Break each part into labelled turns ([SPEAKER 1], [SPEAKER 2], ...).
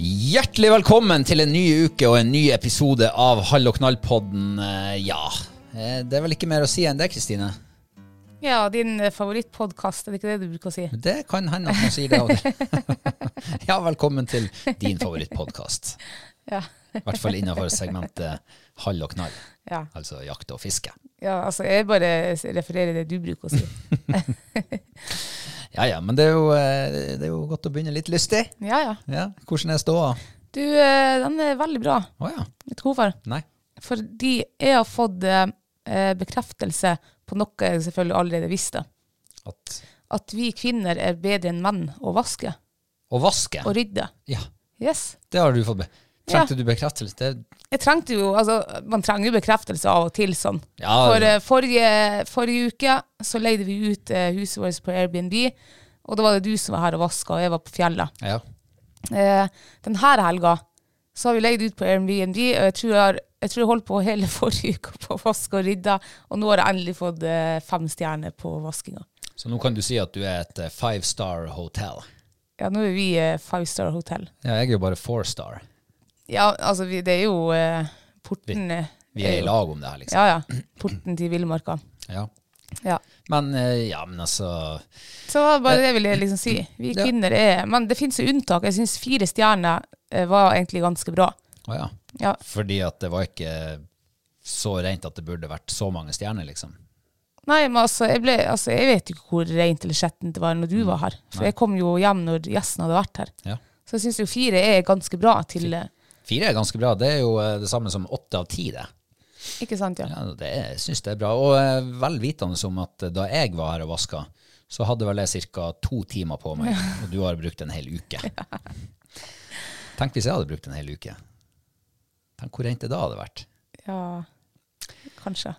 [SPEAKER 1] Hjertelig velkommen til en ny uke og en ny episode av Hall og knall-podden. Eh, Ja, Eh, det er vel ikke mer å si enn det, Kristine?
[SPEAKER 2] Ja, din favorittpodkast, er det ikke det du bruker å si?
[SPEAKER 1] Det kan hende at man sier det. av det. ja, velkommen til din favorittpodkast.
[SPEAKER 2] Ja.
[SPEAKER 1] I hvert fall innenfor segmentet Hall og knall,
[SPEAKER 2] Ja.
[SPEAKER 1] altså jakt og fiske.
[SPEAKER 2] ja, altså jeg bare refererer det du bruker å si.
[SPEAKER 1] Ja ja, men det er jo, eh, det er jo godt å begynne litt lystig.
[SPEAKER 2] Ja, ja.
[SPEAKER 1] Ja, Hvordan er ståa?
[SPEAKER 2] Du, eh, den er veldig bra.
[SPEAKER 1] Å ja.
[SPEAKER 2] Vet du hvorfor?
[SPEAKER 1] Nei.
[SPEAKER 2] Fordi jeg har fått eh, eh, bekreftelse på noe jeg selvfølgelig allerede visste.
[SPEAKER 1] At,
[SPEAKER 2] At vi kvinner er bedre enn menn å vaske
[SPEAKER 1] å vaske?
[SPEAKER 2] og rydde.
[SPEAKER 1] Ja,
[SPEAKER 2] Yes.
[SPEAKER 1] det har du fått. Be
[SPEAKER 2] Ja.
[SPEAKER 1] Trengte du bekreftelse? Det,
[SPEAKER 2] Jeg trengte jo, altså, Man trenger jo bekreftelse av og til sånn.
[SPEAKER 1] Ja.
[SPEAKER 2] For eh, forrige, forrige uke så leide vi ut eh, huset vårt på Airbnb, og da var det du som var her og vaska, og jeg var på fjellet.
[SPEAKER 1] ja.
[SPEAKER 2] Eh, denne helga så har vi leid ut på Airbnb, og jeg tror jeg, har, jeg tror jeg holdt på hele forrige uke på å vaske og rydde, og nå har jeg endelig fått eh, fem stjerner på vaskinga.
[SPEAKER 1] Så nå kan du si at du er et eh, five star hotel.
[SPEAKER 2] Ja, nå er vi eh, five star hotel.
[SPEAKER 1] Ja, jeg er jo bare four star.
[SPEAKER 2] Ja, altså, vi, det er jo eh, porten eh,
[SPEAKER 1] Vi er i lag om det her, liksom.
[SPEAKER 2] Ja, ja. Porten til Villmarka.
[SPEAKER 1] Ja.
[SPEAKER 2] Ja.
[SPEAKER 1] Men eh, ja, men altså
[SPEAKER 2] Så det var bare det vil jeg liksom si. Vi
[SPEAKER 1] Ja.
[SPEAKER 2] kvinner er Men det fins jo unntak. Jeg syns fire stjerner eh, var egentlig ganske bra.
[SPEAKER 1] Å ja.
[SPEAKER 2] Ja.
[SPEAKER 1] Fordi at det var ikke så rent at det burde vært så mange stjerner, liksom.
[SPEAKER 2] Nei, men altså, jeg, ble, altså, jeg vet jo ikke hvor rent eller skjettent det var når du var her. For jeg kom jo hjem når gjesten hadde vært her.
[SPEAKER 1] Mm. Ja.
[SPEAKER 2] Så jeg syns jo fire er ganske bra til eh,
[SPEAKER 1] Fire er ganske bra. Det er jo eh, det samme som åtte av ti, det.
[SPEAKER 2] Ikke sant, ja?
[SPEAKER 1] Ja, det er, jeg syns det er bra. Og eh, vel vitende om at eh, da jeg var her og vaska, så hadde vel jeg ca. to timer på meg, og du har brukt en hel uke. Tenk hvis jeg hadde brukt en hel uke. Tenk hvor rent det da hadde vært.
[SPEAKER 2] ja. Kanskje.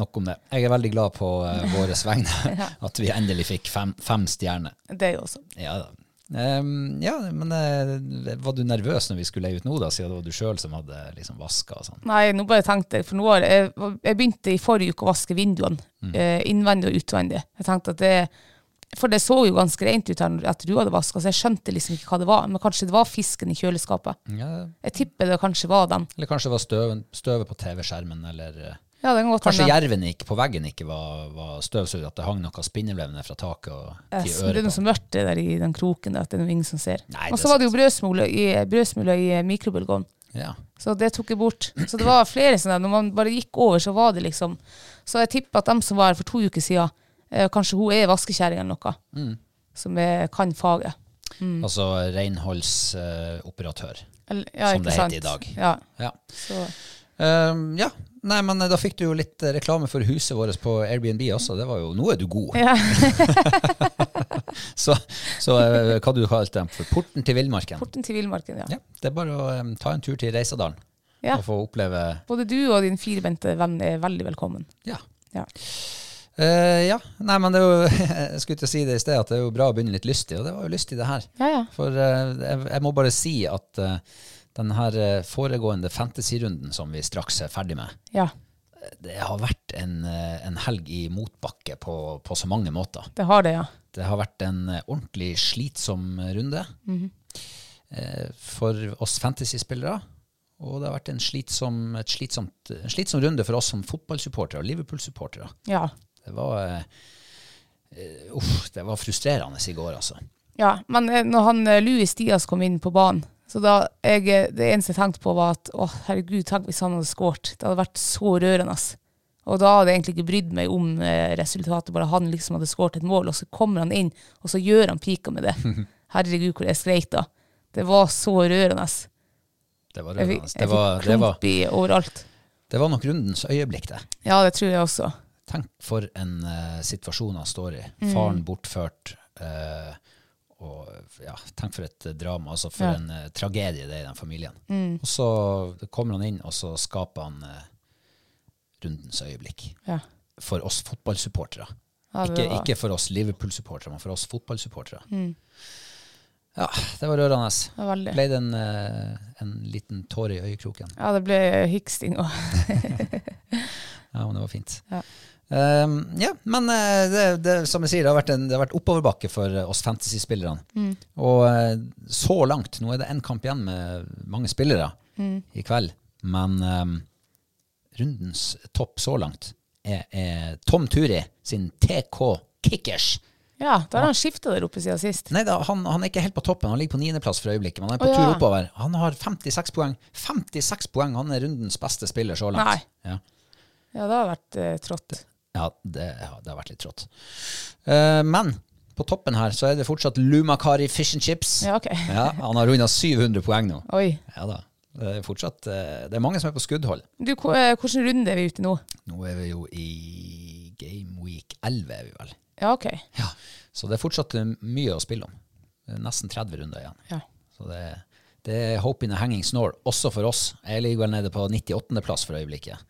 [SPEAKER 1] Nok om det. Jeg er veldig glad på uh, våre vegne at vi endelig fikk fem, fem stjerner.
[SPEAKER 2] Det er jo også.
[SPEAKER 1] Ja da. Ehm, ja, men eh, var du nervøs når vi skulle leie ut nå, da, siden det var du sjøl som hadde liksom vaska og sånn?
[SPEAKER 2] Nei, nå bare tenkte jeg, for nå har jeg, jeg begynte i forrige uke å vaske vinduene,
[SPEAKER 1] Mm.
[SPEAKER 2] eh, innvendig og utvendig. Jeg tenkte at det, For det så jo ganske rent ut her når- etter du hadde vaska, så jeg skjønte liksom ikke hva det var. Men kanskje det var fisken i kjøleskapet.
[SPEAKER 1] Ja,
[SPEAKER 2] Jeg tipper det kanskje var den.
[SPEAKER 1] eller kanskje det var støven, støvet på TV-skjermen, eller eh,
[SPEAKER 2] Ja, den godt
[SPEAKER 1] Kanskje
[SPEAKER 2] hende.
[SPEAKER 1] jerven ikke, på veggen ikke var, var støvsugd, at det hang noe spindelvev ned fra taket og
[SPEAKER 2] Eh,
[SPEAKER 1] til
[SPEAKER 2] så Det er
[SPEAKER 1] øret
[SPEAKER 2] noe så
[SPEAKER 1] på.
[SPEAKER 2] mørkt det der i den kroken der, at det er noe ingen som ser.
[SPEAKER 1] Nei,
[SPEAKER 2] og
[SPEAKER 1] det
[SPEAKER 2] så
[SPEAKER 1] er
[SPEAKER 2] var det jo brødsmuler i, brødsmuler i eh, mikrobølgeovn,
[SPEAKER 1] Ja.
[SPEAKER 2] så det tok jeg bort. Så det var flere sånne, når man bare gikk over, så var det liksom Så jeg tipper at dem som var her
[SPEAKER 1] Mm.
[SPEAKER 2] for to uker siden, eh, kanskje hun er vaskekjerring eller noe, som eh, kan faget.
[SPEAKER 1] Altså renholdsoperatør.
[SPEAKER 2] Eller- ja,
[SPEAKER 1] Som
[SPEAKER 2] ikke
[SPEAKER 1] det heter
[SPEAKER 2] sant?
[SPEAKER 1] i dag.
[SPEAKER 2] Ja,
[SPEAKER 1] ja.
[SPEAKER 2] så
[SPEAKER 1] Ehm, ja. Nei, men eh, da fikk du jo litt eh, reklame for huset vårt på Airbnb også. Det var jo, Nå er du god.
[SPEAKER 2] Ja.
[SPEAKER 1] så så eh, hva du kalte dem for? Porten til villmarken.
[SPEAKER 2] Porten til villmarken, ja.
[SPEAKER 1] Ja, det er bare å eh, ta en tur til Reisadalen
[SPEAKER 2] Ja.
[SPEAKER 1] og få oppleve
[SPEAKER 2] Både du og din firbente venn er veldig velkommen.
[SPEAKER 1] Ja.
[SPEAKER 2] Ja.
[SPEAKER 1] Eh, ja. Nei, men det er jo, jeg skulle til å si det i sted, at det er jo bra å begynne litt lystig, og det var jo lystig, det her.
[SPEAKER 2] Ja, ja.
[SPEAKER 1] For eh, jeg, jeg må bare si at eh, den her eh, foregående fantasy-runden som vi straks er ferdig med,
[SPEAKER 2] ja
[SPEAKER 1] det har vært en, eh, en helg i motbakke på, på så mange måter.
[SPEAKER 2] det har det, ja.
[SPEAKER 1] Det har vært en eh, ordentlig slitsom runde eh, for oss fantasy-spillere. Og det har vært en slitsom, et slitsomt, en slitsom runde for oss som fotballsupportere og Liverpool-supportere.
[SPEAKER 2] Ja.
[SPEAKER 1] Det var eh, eh, Uff, det var frustrerende i går, altså.
[SPEAKER 2] ja. Men eh, når han eh, Louis Diaz kom inn på banen, så da jeg, eh, det eneste jeg tenkte på, var at å, herregud, tenk hvis han hadde skåret. Det hadde vært så rørende. ass. Og da hadde jeg egentlig ikke brydd meg om eh, resultatet, bare han liksom hadde skåret et mål, og så kommer han inn, og så gjør han pika med det. Herregud, hvor jeg skreik da. Det var så rørende. ass.
[SPEAKER 1] Det var
[SPEAKER 2] Jeg
[SPEAKER 1] rørende.
[SPEAKER 2] fikk,
[SPEAKER 1] Det
[SPEAKER 2] jeg
[SPEAKER 1] var,
[SPEAKER 2] fikk
[SPEAKER 1] det var,
[SPEAKER 2] klump i overalt.
[SPEAKER 1] det var nok rundens øyeblikk, det.
[SPEAKER 2] Ja, det tror jeg også.
[SPEAKER 1] Tenk for en eh, situasjon han står i.
[SPEAKER 2] Mm.
[SPEAKER 1] Faren bortført. eh, og ja, tenk for et eh, drama, altså for
[SPEAKER 2] Ja. Mm.
[SPEAKER 1] en eh, tragedie det er i den familien. Og så kommer han inn, og så skaper han eh, rundens øyeblikk.
[SPEAKER 2] Ja.
[SPEAKER 1] For oss fotballsupportere.
[SPEAKER 2] Ja, det
[SPEAKER 1] ikke,
[SPEAKER 2] var- Mm.
[SPEAKER 1] ikke for oss Liverpool-supportere, men for oss fotballsupportere. Ja, det var rørende.
[SPEAKER 2] Ja, veldig.
[SPEAKER 1] Ble det en, eh, en liten tåre i øyekroken?
[SPEAKER 2] Ja, det ble eh, hiksting òg.
[SPEAKER 1] Ja, men det var fint.
[SPEAKER 2] Ja.
[SPEAKER 1] Ehm, ja, men eh, det, det, som jeg sier, det har vært, en, det har vært oppoverbakke for eh, oss fantasy-spillerne.
[SPEAKER 2] Mm.
[SPEAKER 1] Og eh, så langt, nå er det én kamp igjen med mange spillere
[SPEAKER 2] Mm.
[SPEAKER 1] i kveld, men ehm, rundens topp så langt er, er Tom Turi sin TK Kickers.
[SPEAKER 2] Ja, da har han skifta der oppe siden sist.
[SPEAKER 1] Nei, da, han, han er ikke helt på toppen, han ligger på niendeplass for øyeblikket, men han er på
[SPEAKER 2] Å,
[SPEAKER 1] tur
[SPEAKER 2] ja.
[SPEAKER 1] oppover. Han har 56 poeng. 56 poeng, han er rundens beste spiller så langt.
[SPEAKER 2] Nei.
[SPEAKER 1] Ja.
[SPEAKER 2] Ja, det har vært eh, trått.
[SPEAKER 1] Ja, det, ja, det har vært litt trått. Eh, men på toppen her så er det fortsatt Lumakari fish and chips.
[SPEAKER 2] Ja, ok.
[SPEAKER 1] Ja, han har runda 700 poeng nå.
[SPEAKER 2] Oi.
[SPEAKER 1] Ja da. Det er fortsatt eh, Det er mange som er på skuddhold.
[SPEAKER 2] Du, ko- eh, hvilken runde er vi ute i nå?
[SPEAKER 1] Nå er vi jo i game week 11, er vi vel.
[SPEAKER 2] Ja, ok.
[SPEAKER 1] Ja. Så det er fortsatt eh, mye å spille om. Det er nesten 30 runder igjen.
[SPEAKER 2] Ja.
[SPEAKER 1] Så det, det er hope in a hanging snore, også for oss. Jeg ligger vel nede på 98.-plass for øyeblikket.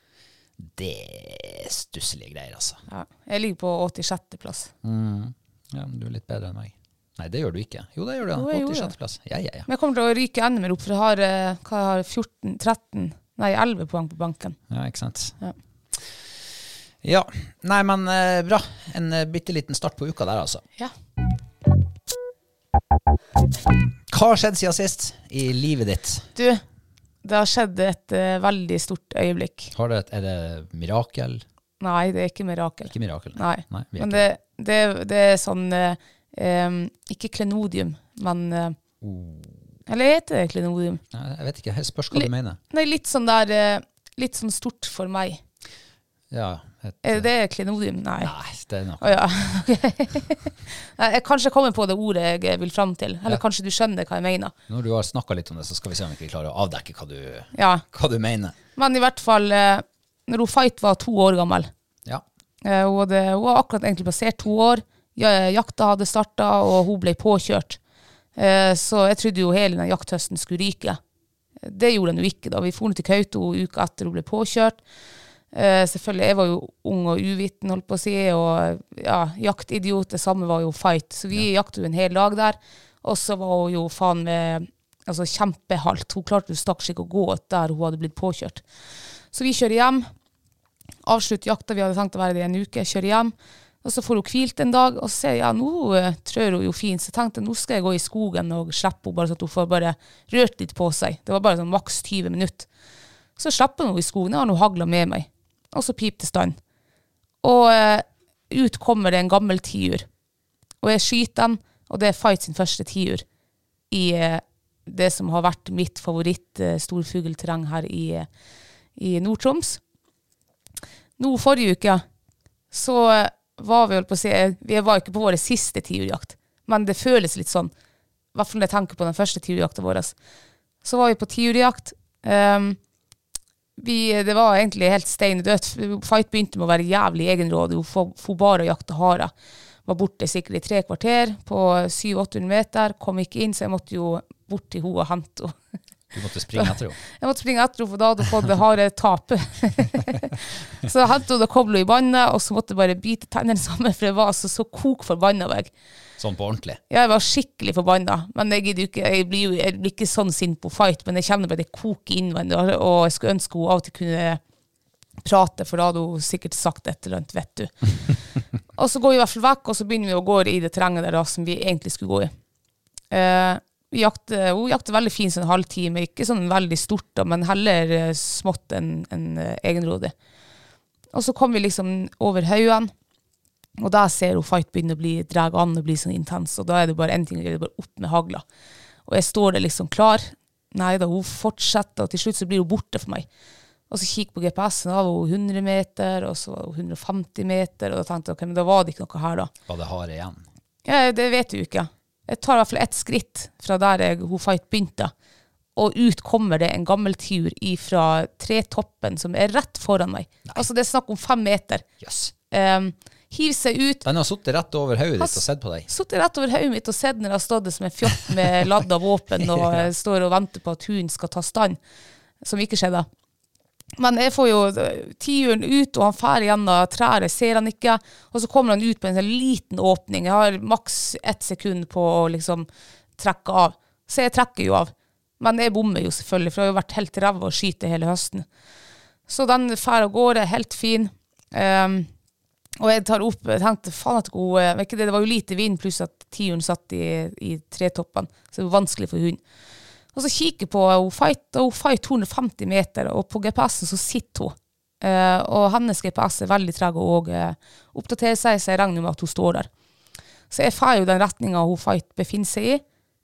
[SPEAKER 1] Det er stusslige greier, altså.
[SPEAKER 2] ja. Jeg ligger på 86. plass.
[SPEAKER 1] Ja, men du er litt bedre enn meg. Mm. Nei, det gjør du ikke. Jo, det gjør du.
[SPEAKER 2] Jo, jeg gjorde
[SPEAKER 1] 86. plass. Ja, ja, ja.
[SPEAKER 2] Men jeg kommer til å ryke enda mer opp, for jeg har, eh, hva jeg har 14, 13, nei 11 poeng på banken.
[SPEAKER 1] Ja, ikke sant.
[SPEAKER 2] Ja.
[SPEAKER 1] Ja. Nei, men eh, bra. En eh, bitte liten start på uka der, altså.
[SPEAKER 2] Ja.
[SPEAKER 1] Hva har skjedd siden sist i livet ditt?
[SPEAKER 2] Du, det har skjedd et eh, veldig stort øyeblikk.
[SPEAKER 1] Har det, er det mirakel?
[SPEAKER 2] Nei, det er ikke mirakel.
[SPEAKER 1] Ikke mirakel.
[SPEAKER 2] Nei.
[SPEAKER 1] Nei vi er
[SPEAKER 2] Men
[SPEAKER 1] ikke.
[SPEAKER 2] det, det, det er sånn eh, em, Ikke klenodium, men eh,
[SPEAKER 1] Oh.
[SPEAKER 2] Eller heter det klenodium?
[SPEAKER 1] Nei, jeg vet ikke. Jeg spørs hva
[SPEAKER 2] Li-
[SPEAKER 1] du mener.
[SPEAKER 2] Nei, litt sånn der eh, Litt sånn stort for meg.
[SPEAKER 1] Ja, et,
[SPEAKER 2] Er det klenodium? Nei.
[SPEAKER 1] Nei, det er nok.
[SPEAKER 2] Å ja. Nei, jeg kanskje kommer på det ordet jeg vil fram til. Eller
[SPEAKER 1] Ja.
[SPEAKER 2] kanskje du skjønner hva jeg mener.
[SPEAKER 1] Når du har snakka litt om det, så skal vi se om vi ikke klarer å avdekke hva du,
[SPEAKER 2] Ja.
[SPEAKER 1] hva du mener.
[SPEAKER 2] Men i hvert fall, eh, når hun Fight var to år gammel
[SPEAKER 1] Ja.
[SPEAKER 2] eh, Hun, hadde, hun var akkurat egentlig passert to år. Ja, Jakta hadde starta, og hun ble påkjørt. Eh, Så jeg trodde jo hele den jakthøsten skulle ryke. Det gjorde den jo ikke. da. Vi for til Kautokeino uka etter hun ble påkjørt. Eh, Selvfølgelig, Jeg var jo ung og uviten, holdt på å si, og ja, jaktidiot. Det samme var jo fight. Så vi jakta jo en hel dag der. Og så var hun jo faen med altså kjempehalt. Hun klarte jo stakkars ikke å gå der hun hadde blitt påkjørt. Så vi kjører hjem avslutte jakta, vi hadde tenkt å være der i en uke, kjøre hjem. Og så får hun hvilt en dag, og så ser jeg ja, nå eh, trør hun jo fint. Så jeg tenkte nå skal jeg gå i skogen og slippe henne, bare så at hun får bare rørt litt på seg. Det var bare sånn maks 20 minutter. Så slapp hun henne i skogen, jeg har nå hagla med meg. Og så pipte stand. Og eh, ut kommer det en gammel tiur. Og jeg skyter den, og det er Fight sin første tiur i eh, det som har vært mitt favoritt-storfuglterreng her i, eh, i Nord-Troms nå forrige uke så eh, var vi vel på å si Vi var ikke på vår siste tiurjakt, men det føles litt sånn. i hvert fall når jeg tenker på den første tiurjakta vår, så var vi på tiurjakt. Um, vi, det var egentlig helt steindødt. Fight begynte med å være jævlig egenrådig. Hun for, for bare å jakte harer. Var borte sikkert i tre kvarter på 700-800 meter. Kom ikke inn, så jeg måtte jo bort til henne og hente henne.
[SPEAKER 1] Du måtte springe etter henne.
[SPEAKER 2] Jeg måtte springe etter henne, for da hadde hun fått det harde tapet. så jeg hentet henne og koblet henne i vannet, og så måtte jeg bare bite tennene sammen, for jeg var altså så kok forbanna. var jeg.
[SPEAKER 1] Sånn på ordentlig.
[SPEAKER 2] Ja, jeg var skikkelig forbanna. Men jeg, gidder jo ikke, jeg, blir jo, jeg blir ikke sånn sint på fight, men jeg kjenner bare det koker innvendig. og- Og jeg skulle ønske hun av og til kunne prate, for da hadde hun sikkert sagt et eller annet, vet du. og så går vi i hvert fall vekk, og så begynner vi å gå i det terrenget der da, som vi egentlig skulle gå i. Eh, vi jakte, hun jakte veldig fint sånn halvtime, ikke sånn veldig stort, da, men heller eh, smått enn enn, eh, egenrådig. Og så kom vi liksom over haugen, og der ser hun fight begynne å bli dreg an og bli sånn intens, og da er det bare en ting å gjøre, det er bare opp med hagla. Og jeg står der liksom klar. Nei da, hun fortsetter, og til slutt så blir hun borte for meg. Og så kikker jeg på GPS-en, da var hun 100 meter, og så var hun 150 meter, og da tenkte jeg ok, men da var det ikke noe her da.
[SPEAKER 1] Var det hard igjen?
[SPEAKER 2] Ja, det vet du ikke. Jeg tar i hvert fall ett skritt fra der jeg, hun fight begynte. Og ut kommer det en gammel tiur ifra tretoppen som er rett foran meg. Altså det er snakk om fem meter.
[SPEAKER 1] Jøss. Yes.
[SPEAKER 2] Um, hiver seg ut,
[SPEAKER 1] Den har sittet rett over hodet
[SPEAKER 2] Pass.
[SPEAKER 1] ditt og sett på deg.
[SPEAKER 2] sittet rett over hodet mitt og sett når jeg har stått der som en fjott med ladda våpen og eh, står og venter på at hunden skal ta stand, som ikke skjedde. Men jeg får jo eh, tiuren ut, og han fær gjennom trær, jeg ser han ikke. Og så kommer han ut på en sånn liten åpning. Jeg har maks ett sekund på å liksom trekke av. Så jeg trekker jo av. Men jeg bommer jo selvfølgelig, for jeg har jo vært helt ræva å skyte hele høsten. Så den fær av gårde, helt fin. Ehm, og jeg tar opp, jeg tenkte faen at hun eh, vet ikke det, det var jo lite vind, pluss at tiuren satt i, i tretoppen, så det var vanskelig for hun. Og så kikker jeg på hun fight, og hun fight 250 meter, og på GPS-en så sitter hun. Eh, og hennes GPS er veldig treg og eh, oppdaterer seg, så jeg regner med at hun står der. Så jeg får jo den retninga hun fight befinner seg i.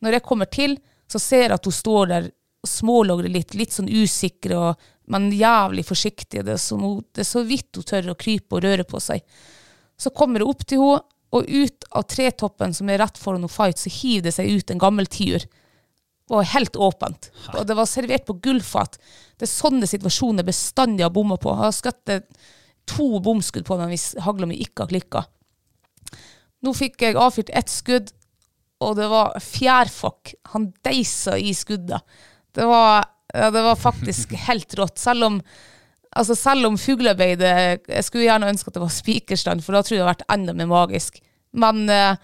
[SPEAKER 2] Når jeg kommer til, så ser jeg at hun står der og smålogrer litt, litt sånn usikker, og, men jævlig forsiktig. Det er, som hun, det er så vidt hun tør å krype og røre på seg. Så kommer det opp til henne, og ut av tretoppen som er rett foran hun fight, så hiver det seg ut en gammel tiur. Det var helt åpent. Og det var servert på gullfat. Det er sånne situasjoner jeg bestandig har bomma på. Jeg har skutt eh, to bomskudd på den hvis hagla mi ikke har klikka. Nå fikk jeg avfyrt ett skudd, og det var fjærfokk. Han deisa i skuddet. Det var, ja, det var faktisk helt rått. Selv om, altså selv om fuglearbeidet Jeg skulle gjerne ønske at det var spikerstand, for da tror jeg det hadde vært enda mer magisk. Men eh,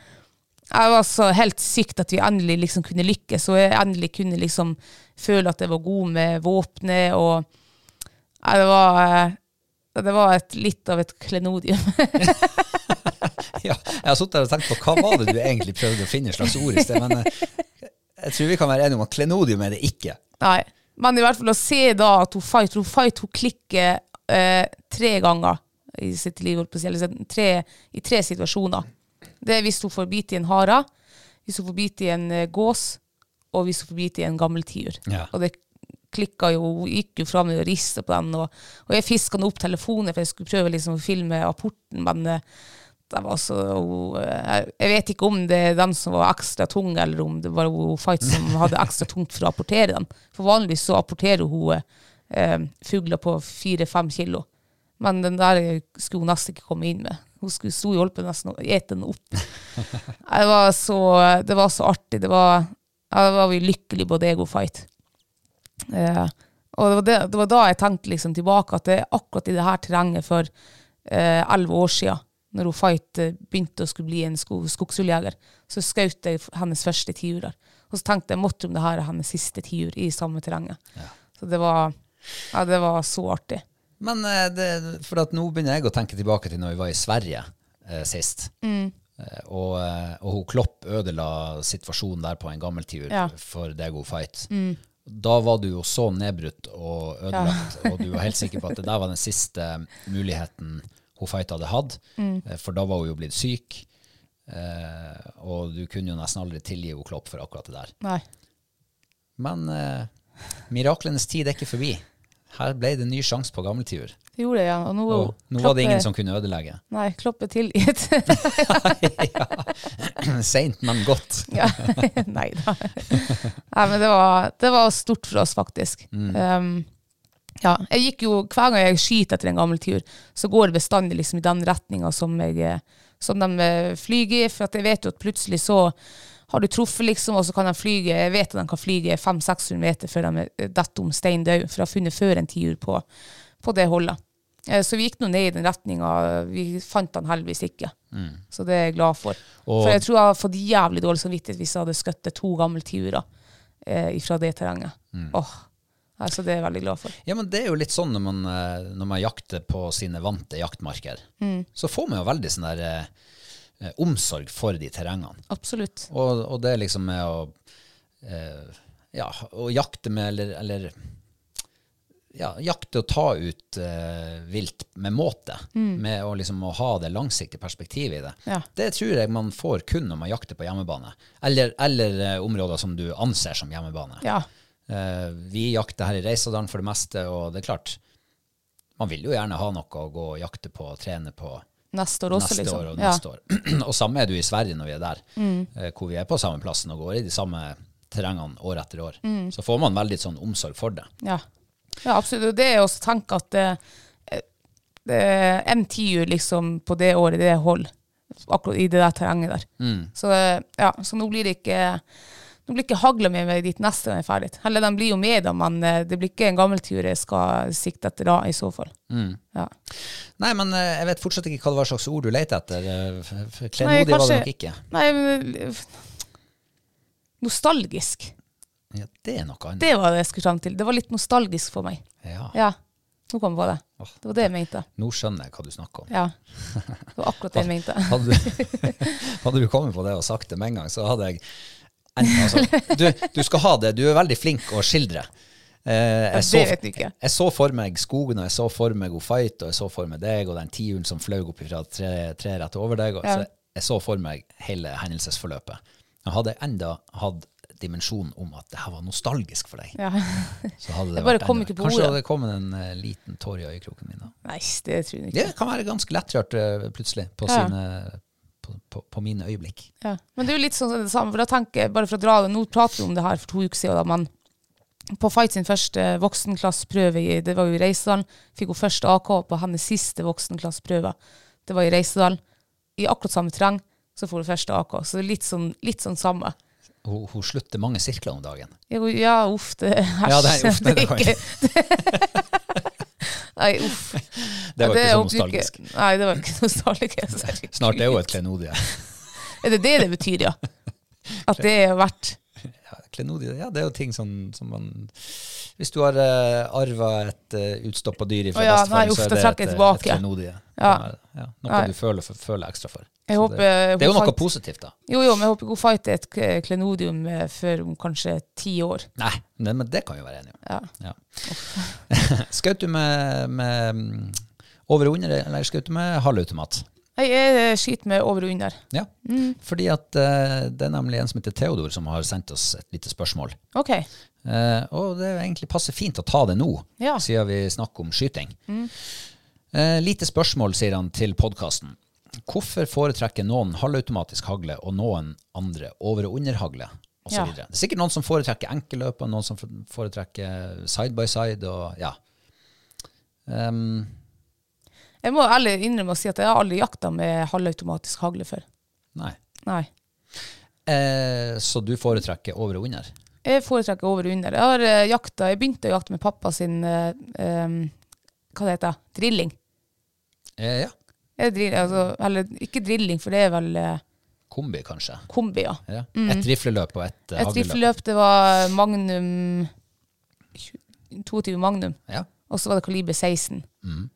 [SPEAKER 2] jeg var så helt sykt at vi endelig liksom kunne lykkes, og jeg endelig kunne liksom føle at jeg var god med våpenet, og ja, det var eh, det var et, litt av et klenodium.
[SPEAKER 1] Ja, jeg har sittet her og tenkt på hva var det du egentlig prøvde å finne et slags ord i sted, men eh, jeg tror vi kan være enige om at klenodium er det ikke.
[SPEAKER 2] Nei. Men i hvert fall å se da at hun fight, hun, fight, hun klikker eh, tre ganger i sitt liv, holdt på å si, eller sånn, tre, i tre situasjoner. Det er hvis hun får bite i en hare, hvis hun får bite i en eh, gås, og hvis hun får bite i en gammel tiur.
[SPEAKER 1] Ja.
[SPEAKER 2] Og det klikka jo, hun gikk jo fram og rista på den, og, og jeg fiska opp telefonen, for jeg skulle prøve liksom å filme apporten, men eh, det var så, hun, eh, jeg vet ikke om det er den som var ekstra tung, eller om det var hun Fight som hadde ekstra tungt for å apportere den. For vanligvis så apporterer hun eh, fugler på fire-fem kilo. Men den der skulle hun nesten ikke komme inn med. Hun skulle sto i holdt på nesten å ete den opp. Nei, Det var så, det var så artig. Det var, ja, det var vi lykkelig Bodego Fight. Eh, og det var, det, det var da jeg tenkte liksom tilbake at det er akkurat i det her terrenget for eh, elleve år siden, når hun Fight eh, begynte å skulle bli en sko, skogshulljeger, så skjøt jeg f- hennes første tiurer. Og så tenkte jeg måtte om det her er hennes siste tiur i samme terrenget. Så det var, ja, det var så artig.
[SPEAKER 1] Men eh, det, for at nå begynner jeg å tenke tilbake til når vi var i Sverige eh, sist. Eh, og, eh, og hun Klopp ødela situasjonen der på en gammel tiur
[SPEAKER 2] Ja.
[SPEAKER 1] for deg og fight. Da var du jo så nedbrutt og ødelagt, og du var helt sikker på at det der var den siste muligheten hun fight hadde hatt. eh, For da var hun jo blitt syk, eh, og du kunne jo nesten aldri tilgi hun Klopp for akkurat det der.
[SPEAKER 2] Nei.
[SPEAKER 1] Men eh, miraklenes tid er ikke forbi. Her ble det en ny sjanse på gamle tider.
[SPEAKER 2] Det gjorde jeg, ja. Og nå,
[SPEAKER 1] Og nå var det ingen som kunne ødelegge.
[SPEAKER 2] Nei, kloppe tilgitt.
[SPEAKER 1] Seint, men godt.
[SPEAKER 2] Ja. Nei da. Nei, men det var, det var stort for oss, faktisk. Um, ja, jeg gikk jo, Hver gang jeg skyter etter en gammel tur, så går det bestandig liksom i den retninga som, jeg, eh, som de eh, flyr i. For at jeg vet jo at plutselig så har du truffet, liksom, og så kan de flyge Jeg vet at de kan flyge 500-600 meter før de er- detter om stein død, for de har funnet før en tiur på, på det holdet. Eh, Så vi gikk nå ned i den retninga. Vi fant han heldigvis ikke. Så det er jeg glad for.
[SPEAKER 1] Og-
[SPEAKER 2] for jeg tror jeg hadde fått jævlig dårlig samvittighet hvis jeg hadde skutt to gamle tiurer eh, fra det terrenget.
[SPEAKER 1] Mm.
[SPEAKER 2] Åh, altså Det er jeg veldig glad for.
[SPEAKER 1] Ja, men det er jo litt sånn når man, eh, når man jakter på sine vante jaktmarker.
[SPEAKER 2] Mm.
[SPEAKER 1] Så får man jo veldig sånn der eh, eh, omsorg for de terrengene.
[SPEAKER 2] Absolutt.
[SPEAKER 1] Og, og det er liksom med å eh, ja, å jakte med eller, eller ja, jakte og ta ut eh, vilt med måte. Med å liksom å ha det langsiktige perspektivet i det.
[SPEAKER 2] Mm. Ja.
[SPEAKER 1] Det tror jeg man får kun når man jakter på hjemmebane. Eller, eller eh, områder som du anser som hjemmebane.
[SPEAKER 2] Ja.
[SPEAKER 1] Eh, vi jakter her i Reisadalen for det meste, og det er klart Man vil jo gjerne ha noe å gå og jakte på og trene på
[SPEAKER 2] Neste år også,
[SPEAKER 1] neste
[SPEAKER 2] liksom.
[SPEAKER 1] år
[SPEAKER 2] Mm.
[SPEAKER 1] og neste år. og samme er det jo i Sverige når vi er der, eh, hvor vi er på samme plassen og går i de samme terrengene år etter år.
[SPEAKER 2] Mm.
[SPEAKER 1] Så får man veldig sånn omsorg for det.
[SPEAKER 2] Ja. ja, absolutt. Og det er jo også tanken at eh, eh, en tiur liksom på det året, det holder. Akkurat i det der terrenget der.
[SPEAKER 1] Mm.
[SPEAKER 2] Så, eh, ja, så nå blir det ikke nå blir det ikke hagla med meg dit neste gang jeg er ferdig. Heller, de blir jo med, da, men eh, det blir ikke en gammel tur jeg skal sikte etter da, i så fall.
[SPEAKER 1] Mm.
[SPEAKER 2] Ja.
[SPEAKER 1] Nei, men eh, jeg vet fortsatt ikke hva det var slags ord du leter etter. eh, f- f-
[SPEAKER 2] Nei,
[SPEAKER 1] Klenmodig var det
[SPEAKER 2] kanskje-
[SPEAKER 1] nok ikke.
[SPEAKER 2] Nei, men eh, Nostalgisk.
[SPEAKER 1] Mm. Ja, det er noe annet.
[SPEAKER 2] Det var det jeg skulle fram til. Det var litt nostalgisk for meg.
[SPEAKER 1] Ja.
[SPEAKER 2] Ja, nå kom jeg på det.
[SPEAKER 1] Åh.
[SPEAKER 2] Det var det jeg mente.
[SPEAKER 1] Nå skjønner jeg hva du snakker om.
[SPEAKER 2] Ja. Det var akkurat det jeg mente.
[SPEAKER 1] Hadde du, hadde du kommet på det og sagt det med en gang, så hadde jeg en- altså, du, du skal ha det, du er veldig flink å skildre. Eh, jeg,
[SPEAKER 2] det
[SPEAKER 1] så,
[SPEAKER 2] vet du ikke.
[SPEAKER 1] jeg så for meg skogen, og jeg så for meg god fight, og jeg så for meg deg og den tiuren som fløy opp fra tre, tre rett over deg. Og,
[SPEAKER 2] Ja.
[SPEAKER 1] så jeg så for meg hele hendelsesforløpet. Jeg hadde jeg enda hatt dimensjonen om at det her var nostalgisk for deg.
[SPEAKER 2] Ja.
[SPEAKER 1] Så hadde det
[SPEAKER 2] Jeg bare
[SPEAKER 1] vært
[SPEAKER 2] kom
[SPEAKER 1] enda-
[SPEAKER 2] ikke på
[SPEAKER 1] Kanskje
[SPEAKER 2] ordet.
[SPEAKER 1] hadde det kommet en eh, liten tår i øyekroken min da.
[SPEAKER 2] Nei, det tror jeg ikke.
[SPEAKER 1] Det kan være ganske lettrørt eh, plutselig på,
[SPEAKER 2] Ja.
[SPEAKER 1] sine, på, på, på mine øyeblikk.
[SPEAKER 2] Ja. Men det er jo litt sånn det samme, for da tenker jeg, bare for å dra det, nå prater vi om det her for to uker siden, da, men på Fight sin første voksenklasseprøve, i- det var jo i Reisedalen, fikk hun første AK på hennes siste voksenklasseprøve. Det var i Reisedalen. I akkurat samme terreng så får hun første AK. Så det er litt sånn, litt sånn samme.
[SPEAKER 1] Hun, hun slutter mange sirkler om dagen.
[SPEAKER 2] Jeg går, ja, uff, det æsj.
[SPEAKER 1] Ja, det er- uff, nei,
[SPEAKER 2] det
[SPEAKER 1] det
[SPEAKER 2] er
[SPEAKER 1] var-
[SPEAKER 2] ikke Nei, uff.
[SPEAKER 1] Det var
[SPEAKER 2] Ja,
[SPEAKER 1] ikke så
[SPEAKER 2] oppbruker-
[SPEAKER 1] nostalgisk.
[SPEAKER 2] Nei, det var ikke så nostalgisk.
[SPEAKER 1] Snart er hun et klenodie.
[SPEAKER 2] Er det det det betyr, ja? At det har vært
[SPEAKER 1] Ja, klenodie Eh, ja, det er jo ting som, som man Hvis du har uh, arva et uh, utstoppa dyr fra
[SPEAKER 2] Å ja,
[SPEAKER 1] bestefar,
[SPEAKER 2] nei, uff,
[SPEAKER 1] så
[SPEAKER 2] da
[SPEAKER 1] er det
[SPEAKER 2] trakk
[SPEAKER 1] et,
[SPEAKER 2] jeg
[SPEAKER 1] eh,
[SPEAKER 2] tilbake.
[SPEAKER 1] et klenodie.
[SPEAKER 2] Ja.
[SPEAKER 1] Ja, ja, noe
[SPEAKER 2] Nei.
[SPEAKER 1] du føler, for, føler ekstra for.
[SPEAKER 2] Jeg
[SPEAKER 1] Så
[SPEAKER 2] håper
[SPEAKER 1] det, det er jo
[SPEAKER 2] hun
[SPEAKER 1] noe
[SPEAKER 2] fant-
[SPEAKER 1] positivt, da.
[SPEAKER 2] Jo, jo, men jeg håper God Fight er et k- klenodium eh, før om kanskje ti år.
[SPEAKER 1] Nei, nei, men det kan vi jo være enige om. Ja.
[SPEAKER 2] Ja.
[SPEAKER 1] Skjøt du med, med mm, over og under, eller skjøt du med halvautomat?
[SPEAKER 2] Nei, Jeg eh, skyter med over og under.
[SPEAKER 1] Ja,
[SPEAKER 2] Mm.
[SPEAKER 1] fordi at eh, det er nemlig en som heter Theodor som har sendt oss et lite spørsmål.
[SPEAKER 2] Ok.
[SPEAKER 1] Eh, og det er egentlig passer fint å ta det nå,
[SPEAKER 2] Ja. Mm.
[SPEAKER 1] siden vi snakker om skyting. Eh, lite spørsmål, sier han til podkasten. Hvorfor foretrekker noen halvautomatisk hagle og noen andre over- og underhagle? Og så
[SPEAKER 2] Ja.
[SPEAKER 1] videre. Det er sikkert noen som foretrekker enkelløp, og noen som foretrekker side by side. Og, ja. Ehm,
[SPEAKER 2] Jeg må ærlig innrømme å si at jeg har aldri jakta med halvautomatisk hagle før.
[SPEAKER 1] nei.
[SPEAKER 2] Nei.
[SPEAKER 1] Eh, så du foretrekker over og under?
[SPEAKER 2] Jeg foretrekker over og under. Jeg, har, eh, jakta, jeg begynte å jakte med pappa sin eh, em, Hva det heter det? Drilling.
[SPEAKER 1] Eh, ja.
[SPEAKER 2] Jeg drill, altså, eller ikke drilling, for det er vel eh,
[SPEAKER 1] Kombi, kanskje.
[SPEAKER 2] kombi, ja.
[SPEAKER 1] Ja. Et rifleløp og et, eh,
[SPEAKER 2] Mm. Et
[SPEAKER 1] hagleløp.
[SPEAKER 2] rifleløp, det var magnum 22 magnum.
[SPEAKER 1] Ja.
[SPEAKER 2] Og så var det kaliber 16. Um,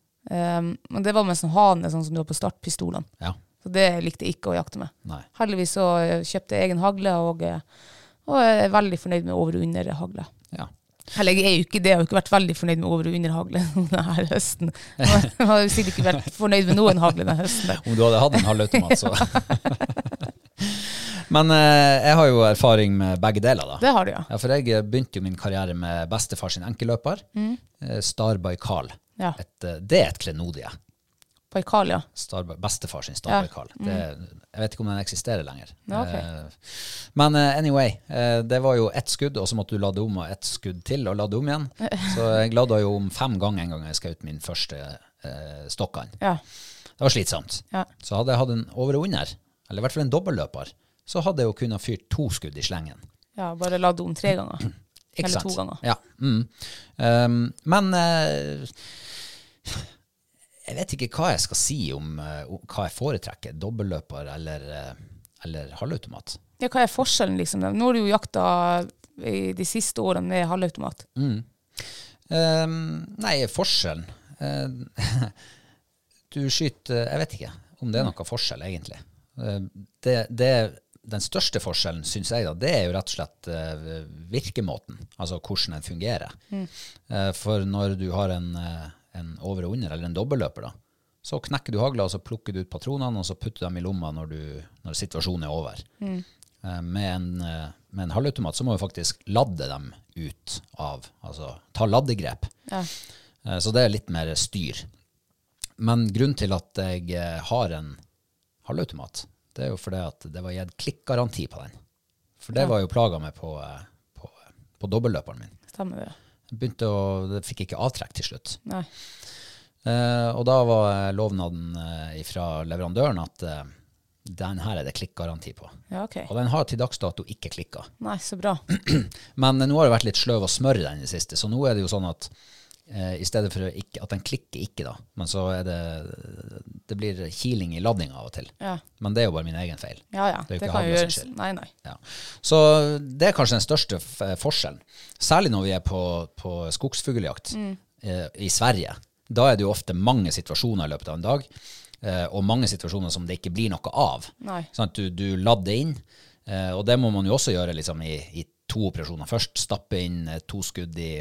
[SPEAKER 2] men det var med sånn hane, sånn som du har på startpistolene.
[SPEAKER 1] ja.
[SPEAKER 2] Så det likte jeg ikke å jakte med.
[SPEAKER 1] Nei.
[SPEAKER 2] Heldigvis så eh, kjøpte jeg egen hagle, og, eh, og jeg er veldig fornøyd med over- og underhagle.
[SPEAKER 1] Ja.
[SPEAKER 2] Eller jeg er jo ikke det, jeg har jo ikke vært veldig fornøyd med over- og underhagle denne høsten. Jeg har jo sikkert ikke vært fornøyd med noen hagle denne høsten.
[SPEAKER 1] Om du hadde hatt en halvautomat, så Men eh, jeg har jo erfaring med begge deler, da.
[SPEAKER 2] Det har du, ja.
[SPEAKER 1] Ja, for jeg eh, begynte jo min karriere med bestefar sin enkelløper,
[SPEAKER 2] Mm.
[SPEAKER 1] eh, Star Baikal.
[SPEAKER 2] Ja.
[SPEAKER 1] Et, eh, det er et klenodie.
[SPEAKER 2] Baikal, ja.
[SPEAKER 1] Star, bestefar sin
[SPEAKER 2] Ja. Mm.
[SPEAKER 1] Star Baikal. Det, jeg vet ikke om den eksisterer lenger.
[SPEAKER 2] Ja, ok.
[SPEAKER 1] Eh, Men eh, anyway, eh, det var jo ett skudd, og så måtte du lade om og ett skudd til, og lade om igjen. Så jeg lada jo om fem ganger en gang jeg skjøt min første eh, stokkand.
[SPEAKER 2] ja.
[SPEAKER 1] Det var slitsomt.
[SPEAKER 2] Ja.
[SPEAKER 1] Så hadde jeg hatt en over og under, eller i hvert fall en dobbeltløper, så hadde jeg jo kunnet fyrt to skudd i slengen.
[SPEAKER 2] ja bare la det om tre ganger.
[SPEAKER 1] Ikke
[SPEAKER 2] Eller
[SPEAKER 1] sant?
[SPEAKER 2] to ganger.
[SPEAKER 1] Ja. Mm. Um, men eh, jeg vet ikke hva jeg skal si om, eh, om hva jeg foretrekker, dobbeltløper eller, eh, eller halvautomat.
[SPEAKER 2] Ja, hva er forskjellen, liksom? Nå har du jo jakta i de siste årene med halvautomat.
[SPEAKER 1] Um, nei, forskjellen eh, Du skyter Jeg vet ikke om det er noe forskjell, egentlig. Eh, Det, det, den største forskjellen, syns jeg, da, det er jo rett og slett eh, virkemåten. Altså hvordan den fungerer. Eh, For når du har en, eh, en over og under, eller en dobbeltløper, da, så knekker du hagla, og så plukker du ut patronene, og så putter du dem i lomma når, du, når situasjonen er over. Eh, Med en, eh, med en halvautomat så må du faktisk ladde dem ut av Altså ta laddegrep. Eh, Så det er litt mer styr. Men grunnen til at jeg eh, har en halvautomat, det er jo fordi at det var gitt klikkgaranti på den. For det var jo plaga meg på, eh, på, på dobbeltløperen min.
[SPEAKER 2] Stemmer det?
[SPEAKER 1] Jeg Begynte å, det fikk ikke avtrekk til slutt.
[SPEAKER 2] Nei.
[SPEAKER 1] Eh, og da var eh, lovnaden eh, fra leverandøren at eh, den her er det klikkgaranti på.
[SPEAKER 2] Ja, ok.
[SPEAKER 1] Og den har til dags dato ikke klikka.
[SPEAKER 2] Nei, så bra.
[SPEAKER 1] Men eh, nå har det vært litt sløv å smøre den i det siste, så nå er det jo sånn at eh, i stedet for å ikke, at den klikker ikke, da, men så er det Det blir kiling i ladninga av og til.
[SPEAKER 2] Ja.
[SPEAKER 1] Men det er jo bare min egen feil.
[SPEAKER 2] Ja, ja.
[SPEAKER 1] Det er jo
[SPEAKER 2] Det
[SPEAKER 1] ikke
[SPEAKER 2] kan jo
[SPEAKER 1] Havla
[SPEAKER 2] gjøres.
[SPEAKER 1] sin skyld.
[SPEAKER 2] Nei, nei.
[SPEAKER 1] Ja. Så det er kanskje den største f eh, forskjellen. Særlig når vi er på, på skogsfugljakt
[SPEAKER 2] Mm.
[SPEAKER 1] eh, i Sverige. Da er det jo ofte mange situasjoner i løpet av en dag, eh, og mange situasjoner som det ikke blir noe av.
[SPEAKER 2] Nei.
[SPEAKER 1] Sånn at du, du ladder inn, eh, og det må man jo også gjøre liksom, i, i to operasjoner. Først stappe inn eh, to skudd i,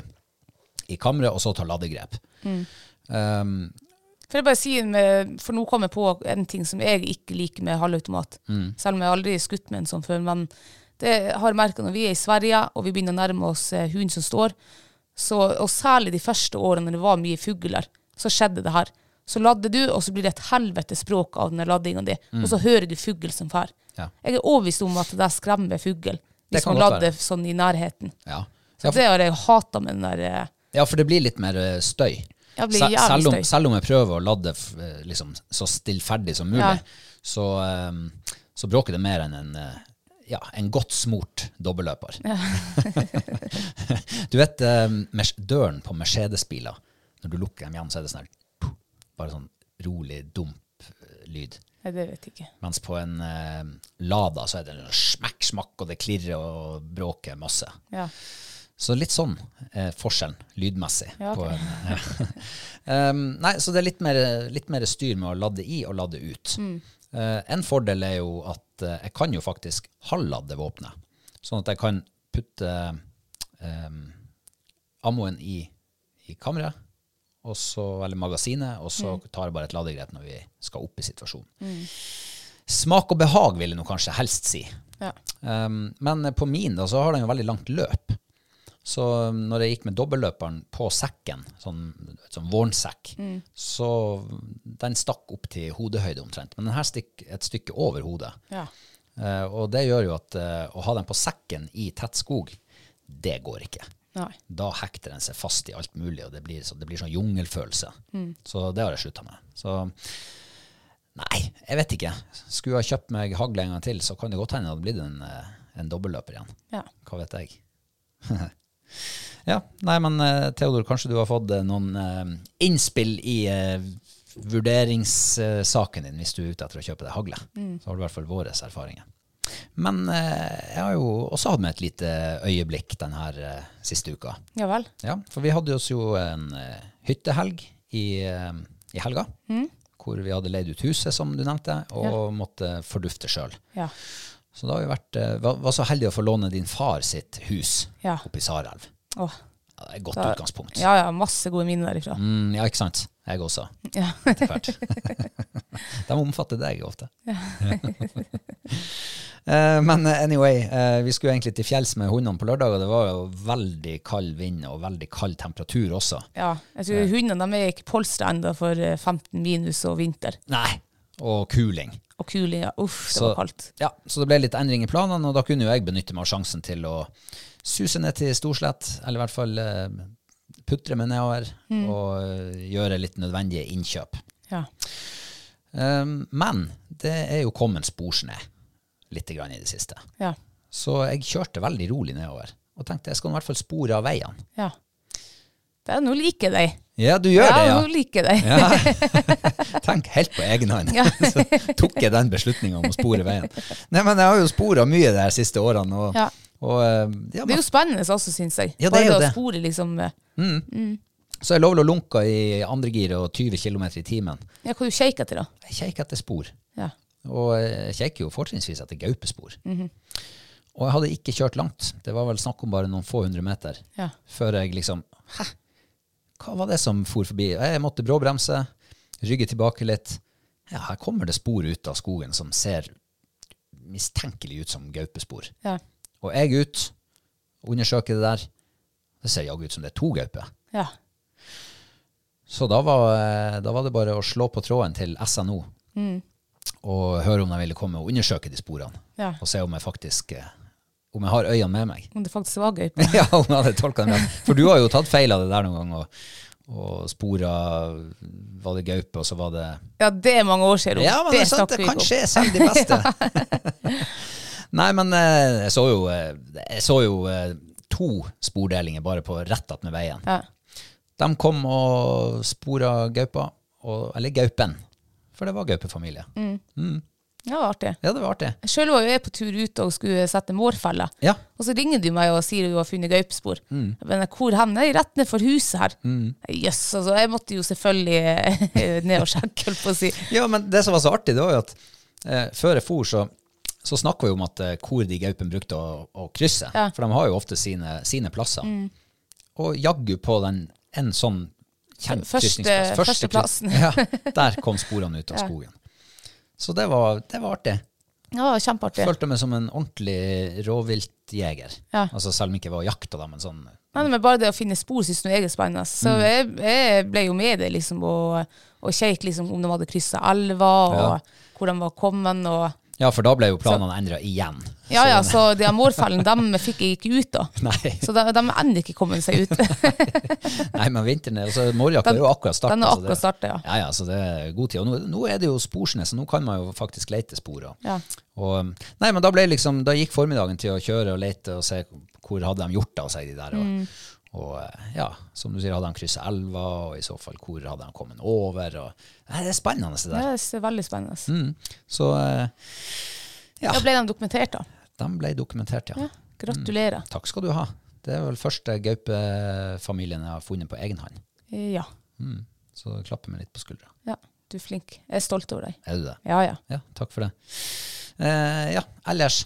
[SPEAKER 1] i kammeret, og så ta laddegrep.
[SPEAKER 2] Mm.
[SPEAKER 1] Um,
[SPEAKER 2] For jeg bare sier med, for nå kom jeg på en ting som jeg ikke liker med halvautomat.
[SPEAKER 1] Mm.
[SPEAKER 2] Selv om jeg aldri har skutt med en sånn før. Men det har jeg merket når vi er i Sverige, og vi begynner å nærme oss eh, hunden som står, så, og særlig de første årene når det var mye fugler, så skjedde det her. Så ladder du, og så blir det et helvete språk av den laddinga di, og så hører du fugl som fær.
[SPEAKER 1] Mm. Ja.
[SPEAKER 2] Jeg er overbevist om at det der skremmer fugl, hvis
[SPEAKER 1] kan
[SPEAKER 2] man
[SPEAKER 1] godt
[SPEAKER 2] ladder sånn i nærheten.
[SPEAKER 1] ja.
[SPEAKER 2] Så det har jeg hata med den der eh,
[SPEAKER 1] Ja, for det blir litt mer eh, støy.
[SPEAKER 2] Ja, det blir
[SPEAKER 1] Se-
[SPEAKER 2] jævlig
[SPEAKER 1] selv, om,
[SPEAKER 2] støy.
[SPEAKER 1] selv om jeg prøver å lade f- eh, liksom, så stillferdig som mulig,
[SPEAKER 2] Ja.
[SPEAKER 1] så, eh, så bråker det mer enn en, eh, ja, en godt smurt dobbeltløper. du vet eh, Mer- døren på Mercedes-biler, når du lukker dem igjen, så er det sånn her, bare sånn rolig dump-lyd.
[SPEAKER 2] Nei, det vet jeg ikke.
[SPEAKER 1] Mens på en eh, Lada så er det en smekk, smakk, og det klirrer og bråker masse.
[SPEAKER 2] Ja.
[SPEAKER 1] Så litt sånn eh, forskjellen lydmessig.
[SPEAKER 2] Ja, ok.
[SPEAKER 1] på en, um, nei, så det er litt mer, litt mer styr med å ladde i og ladde ut.
[SPEAKER 2] Mm.
[SPEAKER 1] Eh, en fordel er jo at eh, jeg kan jo faktisk halvladde våpenet, sånn at jeg kan putte um, ammoen i, i kammeret, og så- eller magasinet, og så
[SPEAKER 2] Mm.
[SPEAKER 1] tar jeg bare et ladegrep når vi skal opp i situasjonen. Smak og behag vil jeg nå kanskje helst si.
[SPEAKER 2] Ja.
[SPEAKER 1] Um, men på min da, så har den jo veldig langt løp. Så um, når jeg gikk med dobbeltløperen på sekken, sånn, sånn vårnsekk, så um, den stakk opp til hodehøyde omtrent. Men den her stikk et stykke over hodet.
[SPEAKER 2] Ja.
[SPEAKER 1] Eh, og det gjør jo at eh, å ha den på sekken i tett skog, det går ikke.
[SPEAKER 2] Nei.
[SPEAKER 1] Da hekter den seg fast i alt mulig, og det blir, så, det blir sånn jungelfølelse. Så det har jeg slutta med. Så nei, jeg vet ikke. Skulle jeg kjøpt meg hagle en gang til, så kan det godt hende det hadde blitt en, eh, en dobbeltløper igjen.
[SPEAKER 2] Ja.
[SPEAKER 1] Hva vet jeg. ja, nei, men eh, Theodor, kanskje du har fått eh, noen eh, innspill i eh, vurderingssaken din hvis du er ute etter å kjøpe deg hagle. Så har du i hvert fall våre erfaringer. Men eh, jeg har jo også hatt med et lite øyeblikk denne eh, siste uka.
[SPEAKER 2] ja vel.
[SPEAKER 1] Ja, for vi hadde oss jo en eh, hyttehelg i, eh, i helga, hvor vi hadde leid ut huset, som du nevnte, og måtte fordufte sjøl.
[SPEAKER 2] Ja.
[SPEAKER 1] Så da har vi vært, eh, var, var så heldige å få låne din far sitt hus
[SPEAKER 2] Ja.
[SPEAKER 1] oppe i Sarelv.
[SPEAKER 2] Åh.
[SPEAKER 1] Ja, det er et godt
[SPEAKER 2] Da-
[SPEAKER 1] utgangspunkt.
[SPEAKER 2] Ja, ja, masse gode minner derifra.
[SPEAKER 1] Mm, ja, ikke sant? Jeg også.
[SPEAKER 2] Ja.
[SPEAKER 1] Etter hvert. De omfatter deg ofte. Eh, Men eh, anyway, eh, vi skulle egentlig til fjells med hundene på lørdag, og det var jo veldig kald vind og veldig kald temperatur også.
[SPEAKER 2] ja. Jeg tror hundene de er ikke polstra ennå for eh, 15 minus og vinter.
[SPEAKER 1] Nei. Og kuling.
[SPEAKER 2] Og kuling, ja. Uff, det
[SPEAKER 1] Så-
[SPEAKER 2] var kaldt.
[SPEAKER 1] Ja, så det ble litt endring i planene, og da kunne jo jeg benytte meg av sjansen til å suse ned til Storslett, eller i hvert fall eh, putre meg nedover,
[SPEAKER 2] Mm.
[SPEAKER 1] og eh, gjøre litt nødvendige innkjøp.
[SPEAKER 2] Ja.
[SPEAKER 1] Um, men det er jo kommet sporsnø litt grann i det siste.
[SPEAKER 2] Ja.
[SPEAKER 1] Så jeg kjørte veldig rolig nedover, og tenkte jeg skal nå i hvert fall spore av veiene.
[SPEAKER 2] ja. Det er nå liker jeg deg.
[SPEAKER 1] Ja, du gjør
[SPEAKER 2] ja,
[SPEAKER 1] det, ja.
[SPEAKER 2] nå liker jeg deg.
[SPEAKER 1] Tenk helt på egen hånd. så tok jeg den beslutninga om å spore veien. Nei, men jeg har jo spora mye de her siste årene, og,
[SPEAKER 2] Ja.
[SPEAKER 1] og eh, ja,
[SPEAKER 2] Det er
[SPEAKER 1] men,
[SPEAKER 2] jo spennende også, syns jeg.
[SPEAKER 1] Ja, det er
[SPEAKER 2] Bare
[SPEAKER 1] jo
[SPEAKER 2] å
[SPEAKER 1] det.
[SPEAKER 2] spore liksom eh,
[SPEAKER 1] så jeg lovla lunka i andre gir og 20 km i timen.
[SPEAKER 2] Ja, hva du kjeker etter, da.
[SPEAKER 1] Jeg kjekker etter spor,
[SPEAKER 2] Ja.
[SPEAKER 1] og jeg kjekker jo fortrinnsvis etter gaupespor. Og jeg hadde ikke kjørt langt, det var vel snakk om bare noen få hundre meter,
[SPEAKER 2] Ja.
[SPEAKER 1] før jeg liksom Hæ, hva var det som for forbi? Jeg måtte bråbremse, rygge tilbake litt. Ja, her kommer det spor ut av skogen som ser mistenkelig ut som gaupespor.
[SPEAKER 2] Ja.
[SPEAKER 1] Og jeg ut, undersøker det der. Det ser jaggu ut som det er to gauper.
[SPEAKER 2] ja.
[SPEAKER 1] Så da var, da var det bare å slå på tråden til SNO og høre om de ville komme og undersøke de sporene.
[SPEAKER 2] Ja.
[SPEAKER 1] Og se om jeg faktisk eh, om jeg har øynene med meg.
[SPEAKER 2] Om det faktisk var gøy. på-
[SPEAKER 1] ja, om jeg hadde tolket dem rett. For du har jo tatt feil av det der noen gang, og, og spora var det gaupe, og så var det
[SPEAKER 2] Ja, det er mange år siden. Ro.
[SPEAKER 1] Ja, men det, er sant,
[SPEAKER 2] snakker
[SPEAKER 1] det
[SPEAKER 2] vi
[SPEAKER 1] kan
[SPEAKER 2] ikke om.
[SPEAKER 1] skje selv de beste. Nei, men eh, jeg så jo, eh, jeg så jo eh, to spordelinger bare på rett attmed veien.
[SPEAKER 2] Ja.
[SPEAKER 1] De kom og spora gaupa, og, eller gaupen, for det var gaupefamilie.
[SPEAKER 2] Ja, det var artig.
[SPEAKER 1] Ja, det var artig.
[SPEAKER 2] Sjøl var jo jeg på tur ut og skulle sette mårfelle.
[SPEAKER 1] Ja. Mm.
[SPEAKER 2] Og så ringer du meg og sier du har funnet gaupespor. Men hvor hen? Nei, rett ned for huset her. Jøss, altså. Jeg måtte jo selvfølgelig eh, ned og sjekke, holdt på å si.
[SPEAKER 1] ja, men det som var så artig, det var jo at eh, før jeg for, så, så snakka vi om at eh, hvor de gaupene brukte å, å krysse.
[SPEAKER 2] Ja. Mm.
[SPEAKER 1] For de har jo ofte sine, sine plasser. Og jaggu på den en sånn kjent
[SPEAKER 2] Første-
[SPEAKER 1] krysningsplass.
[SPEAKER 2] førsteplassen.
[SPEAKER 1] kryss- ja, der kom sporene ut av skogen. Så det var, det var artig.
[SPEAKER 2] Ja, kjempeartig.
[SPEAKER 1] Følte meg som en ordentlig rovviltjeger.
[SPEAKER 2] Ja.
[SPEAKER 1] Altså, selv om jeg ikke var jakta, da, men sånn
[SPEAKER 2] Nei, nei, men bare det å finne spor syns jeg er spennende. Så
[SPEAKER 1] Mm.
[SPEAKER 2] jeg, jeg ble jo med det, liksom, og, og kjekk liksom, om de hadde kryssa elva, og hvor de var kommet, og
[SPEAKER 1] Ja, for da ble jo planene endra igjen.
[SPEAKER 2] Ja ja, så de mårfellene, dem fikk jeg ikke ut, da.
[SPEAKER 1] Nei.
[SPEAKER 2] Så de, de er ennå ikke kommet seg ut.
[SPEAKER 1] Nei, men vinteren er altså, Morjakta
[SPEAKER 2] Den-
[SPEAKER 1] er jo akkurat starta.
[SPEAKER 2] den er akkurat startet, ja.
[SPEAKER 1] ja. Ja, så det er god tid. Og nå, nå er det jo sporsnø, så nå kan man jo faktisk lete spor. Og,
[SPEAKER 2] Ja.
[SPEAKER 1] og, um, nei, men da, ble liksom, da gikk formiddagen til å kjøre og lete og se hvor hadde de gjort av seg, de der. Og,
[SPEAKER 2] Mm.
[SPEAKER 1] og eh, ja, som du sier, hadde de kryssa elva, og i så fall hvor hadde de kommet over? Og, nei, det er spennende, det
[SPEAKER 2] Det
[SPEAKER 1] der. Mm.
[SPEAKER 2] er veldig spennende.
[SPEAKER 1] Så eh,
[SPEAKER 2] Da ble de dokumentert, da.
[SPEAKER 1] de ble dokumentert, ja.
[SPEAKER 2] Ja, gratulerer.
[SPEAKER 1] Takk skal du ha. Det er vel første gaupefamilien jeg har funnet på egen hånd. Mm.
[SPEAKER 2] Ja.
[SPEAKER 1] Så klapper meg litt på skuldra.
[SPEAKER 2] ja. Du er flink. Jeg er stolt over deg.
[SPEAKER 1] Er du det?
[SPEAKER 2] Ja, ja.
[SPEAKER 1] Ja, takk for det. Eh, ja, ellers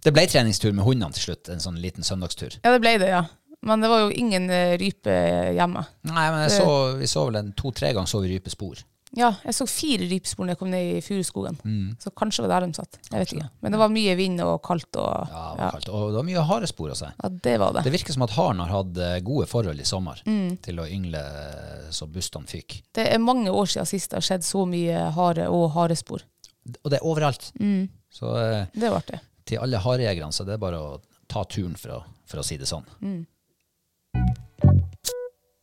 [SPEAKER 1] Det ble treningstur med hundene til slutt. En sånn liten søndagstur.
[SPEAKER 2] Ja, det ble det, ja. Men det var jo ingen eh, rype hjemme.
[SPEAKER 1] Nei, men jeg så, vi så vel en to-tre ganger så vi rypespor.
[SPEAKER 2] Ja, jeg så fire rypespor da jeg kom ned i furuskogen.
[SPEAKER 1] Mm.
[SPEAKER 2] Så kanskje var det der de satt. Jeg vet ikke. Men det var mye vind og kaldt og
[SPEAKER 1] Ja, det var kaldt. Og det var mye harespor av seg.
[SPEAKER 2] Ja, det var det.
[SPEAKER 1] Det virker som at haren har hatt eh, gode forhold i sommer til å yngle eh, så bustene fyker.
[SPEAKER 2] Det er mange år siden sist det har skjedd så mye hare og harespor.
[SPEAKER 1] Og det er overalt. Så eh,
[SPEAKER 2] Det var artig.
[SPEAKER 1] til alle harejegerne så det er bare å ta turen, for å, for å si det sånn.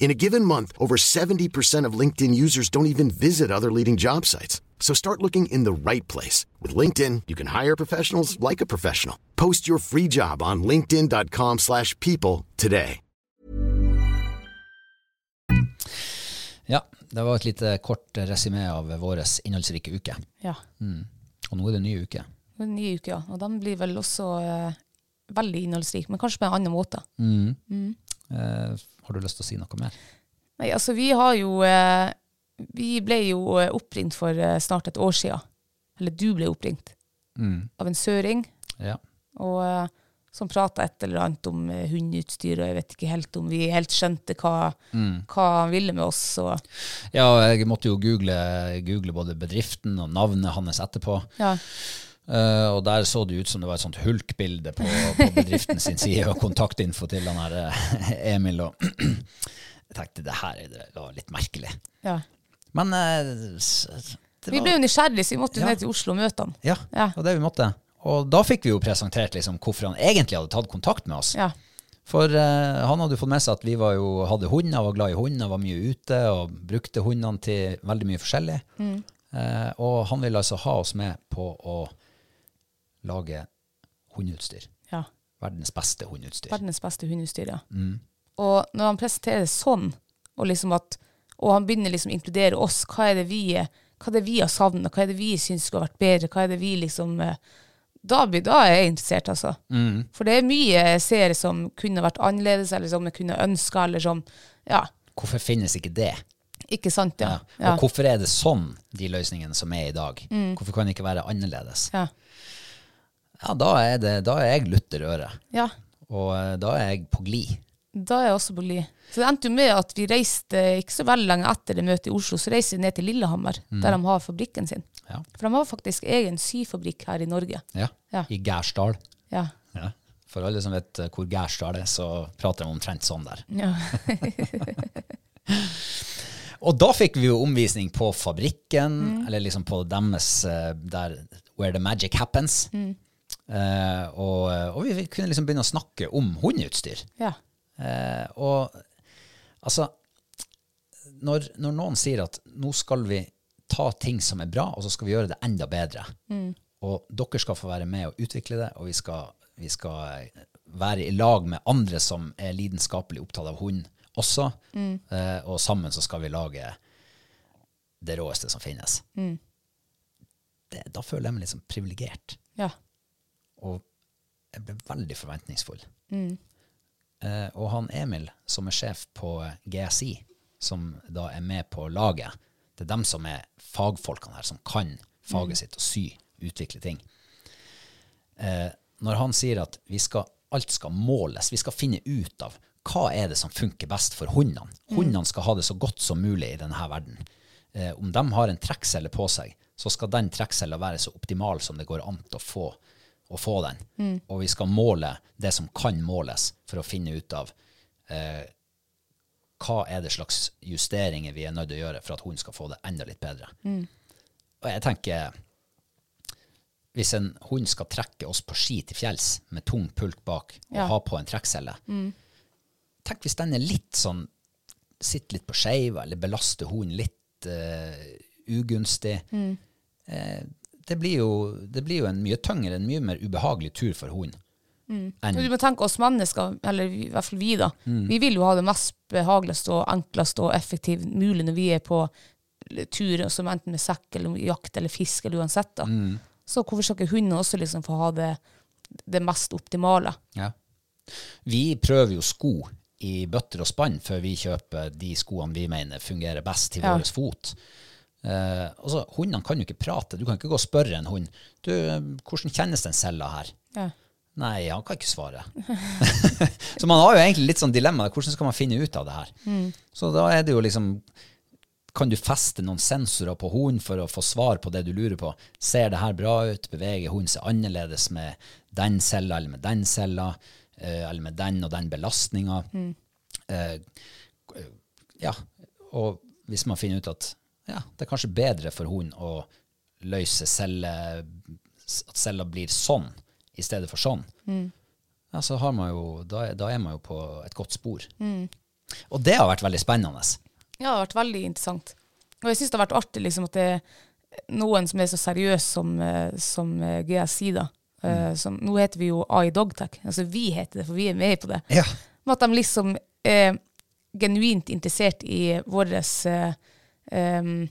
[SPEAKER 3] In a given month, over 70% of LinkedIn users don't even visit other leading job sites. So start looking in the right place. With LinkedIn, you can hire professionals like a professional. Post your free job on linkedin.com/people slash people today.
[SPEAKER 1] Ja, det var et lite kort resymé av vår innholdsrike uke.
[SPEAKER 2] Ja.
[SPEAKER 1] Mm. Og nå er det en ny uke.
[SPEAKER 2] Det er en Ny uke, ja. Og den blir vel også eh, veldig innholdsrik, men kanskje på en annen måte.
[SPEAKER 1] Mm. Eh, har du lyst til å si noe mer?
[SPEAKER 2] Nei, altså vi har jo eh, Vi ble jo eh, oppringt for eh, snart et år siden. Eller du ble oppringt
[SPEAKER 1] Mm.
[SPEAKER 2] av en søring
[SPEAKER 1] Ja.
[SPEAKER 2] og, eh, som prata et eller annet om eh, hundeutstyr, og jeg vet ikke helt om vi helt skjønte hva,
[SPEAKER 1] Mm.
[SPEAKER 2] hva han ville med oss. Og,
[SPEAKER 1] ja, jeg måtte jo google, google både bedriften og navnet hans etterpå.
[SPEAKER 2] ja.
[SPEAKER 1] Eh, og der så det ut som det var et sånt hulkbilde på, på bedriften sin side, og kontaktinfo til han her eh, Emil. Og jeg tenkte det her er- det var litt merkelig.
[SPEAKER 2] Ja.
[SPEAKER 1] Men eh, s- det
[SPEAKER 2] Vi
[SPEAKER 1] var-
[SPEAKER 2] ble jo nysgjerrige, så vi måtte jo
[SPEAKER 1] Ja.
[SPEAKER 2] ned til Oslo og møte han.
[SPEAKER 1] Ja,
[SPEAKER 2] Ja.
[SPEAKER 1] det var det vi måtte. Og da fikk vi jo presentert liksom hvorfor han egentlig hadde tatt kontakt med oss.
[SPEAKER 2] Ja.
[SPEAKER 1] For eh, han hadde jo fått med seg at vi var jo, hadde hund, jeg var glad i hund, jeg var mye ute og brukte hundene til veldig mye forskjellig. Eh, og han ville altså ha oss med på å lage hundeutstyr.
[SPEAKER 2] ja.
[SPEAKER 1] Verdens beste hundeutstyr.
[SPEAKER 2] Verdens beste hundeutstyr, ja.
[SPEAKER 1] Mm.
[SPEAKER 2] Og når han presenterer det sånn, og, liksom at, og han begynner liksom å inkludere oss, hva er det vi, hva er det vi har savna, hva er det vi syns skulle ha vært bedre, hva er det vi liksom eh, da, blir- da er jeg interessert, altså.
[SPEAKER 1] Mm.
[SPEAKER 2] For det er mye jeg ser som kunne vært annerledes, eller som jeg kunne ønska, eller som Ja,
[SPEAKER 1] Hvorfor finnes ikke det?
[SPEAKER 2] ikke sant, ja.
[SPEAKER 1] Ja. Mm. Og hvorfor er det sånn, de løsningene som er i dag? Hvorfor kan det ikke være annerledes?
[SPEAKER 2] ja.
[SPEAKER 1] Ja, da er, det, da er jeg lutter øre,
[SPEAKER 2] ja.
[SPEAKER 1] og eh, da er jeg på glid.
[SPEAKER 2] Da er jeg også på glid. Så det endte jo med at vi reiste ikke så veldig lenge etter det møtet i Oslo, så reiste vi ned til Lillehammer, der de har fabrikken sin.
[SPEAKER 1] Ja.
[SPEAKER 2] For de har faktisk egen syfabrikk her i Norge.
[SPEAKER 1] Ja.
[SPEAKER 2] Ja.
[SPEAKER 1] I Gærsdal.
[SPEAKER 2] Ja.
[SPEAKER 1] Ja. For alle som vet eh, hvor Gærsdal er, så prater de omtrent sånn der.
[SPEAKER 2] ja.
[SPEAKER 1] Og da fikk vi jo omvisning på fabrikken, eller liksom på deres eh, der, Where the magic happens. Eh, og, og vi kunne liksom begynne å snakke om hundeutstyr.
[SPEAKER 2] ja.
[SPEAKER 1] Eh, og altså når, når noen sier at nå skal vi ta ting som er bra, og så skal vi gjøre det enda bedre, og dere skal få være med og utvikle det, og vi skal, vi skal eh, være i lag med andre som er lidenskapelig opptatt av hund også, eh, og sammen så skal vi lage det råeste som finnes. Det, da føler jeg meg liksom privilegert
[SPEAKER 2] ja.
[SPEAKER 1] og jeg ble veldig forventningsfull. Eh, og han Emil, som er sjef på eh, GSI, som da er med på laget, det er dem som er fagfolkene her, som kan faget sitt og sy, utvikle ting. Eh, når han sier at vi skal, alt skal måles, vi skal finne ut av hva er det som funker best for hundene. Hundene skal ha det så godt som mulig i denne verden. Eh, om de har en trekkcelle på seg, så skal den trekkcella være så optimal som det går an til å få, å få den. Og vi skal måle det som kan måles, for å finne ut av eh, hva er det slags justeringer vi er nødt til å gjøre for at hunden skal få det enda litt bedre. Og jeg tenker hvis en hund skal trekke oss på ski til fjells med tung pulk bak og
[SPEAKER 2] Ja.
[SPEAKER 1] ha på en trekkcelle Tenk hvis den er litt sånn Sitter litt på skeiva eller belaster hunden litt eh, ugunstig. Eh, det, blir jo, det blir jo en mye tyngre, en mye mer ubehagelig tur for hunden.
[SPEAKER 2] Men Du må tenke oss mennesker, eller vi- i hvert fall vi, da. Vi vil jo ha det mest behageligst og enklest og effektivt mulig når vi er på tur, som enten med sekk eller jakt eller fisk eller uansett. da. Så hvorfor skal ikke hundene også liksom få ha det, det mest optimale?
[SPEAKER 1] Ja. Vi prøver jo sko i bøtter og spann før vi kjøper de skoene vi mener fungerer best til
[SPEAKER 2] Ja.
[SPEAKER 1] vår fot. Eh, altså, Hundene kan jo ikke prate. Du kan ikke gå og spørre en hund du, 'Hvordan kjennes den cella her?'
[SPEAKER 2] Ja.
[SPEAKER 1] Nei, han kan ikke svare. så man har jo egentlig litt sånn dilemma. Hvordan skal man finne ut av det her?
[SPEAKER 2] Mm.
[SPEAKER 1] Så da er det jo liksom Kan du feste noen sensorer på hunden for å få svar på det du lurer på? Ser det her bra ut? Beveger hunden seg annerledes med den cella eller med den cella? eh, Eller med den og den belastninga? eh, ja, og hvis man finner ut at ja, det er kanskje bedre for hunden å løse celle, at cella blir sånn i stedet for sånn, ja, så har man jo, da, er- da er man jo på et godt spor. Og det har vært veldig spennende.
[SPEAKER 2] Ja, det har vært veldig interessant. Og jeg syns det har vært artig liksom, at det er noen som er så seriøs som, eh, som eh, GSI, da. Eh, Som, nå heter vi jo AI Dogtech. Altså vi heter det, for vi er med på det.
[SPEAKER 1] Ja.
[SPEAKER 2] Men at de liksom er genuint interessert i vårt eh, em,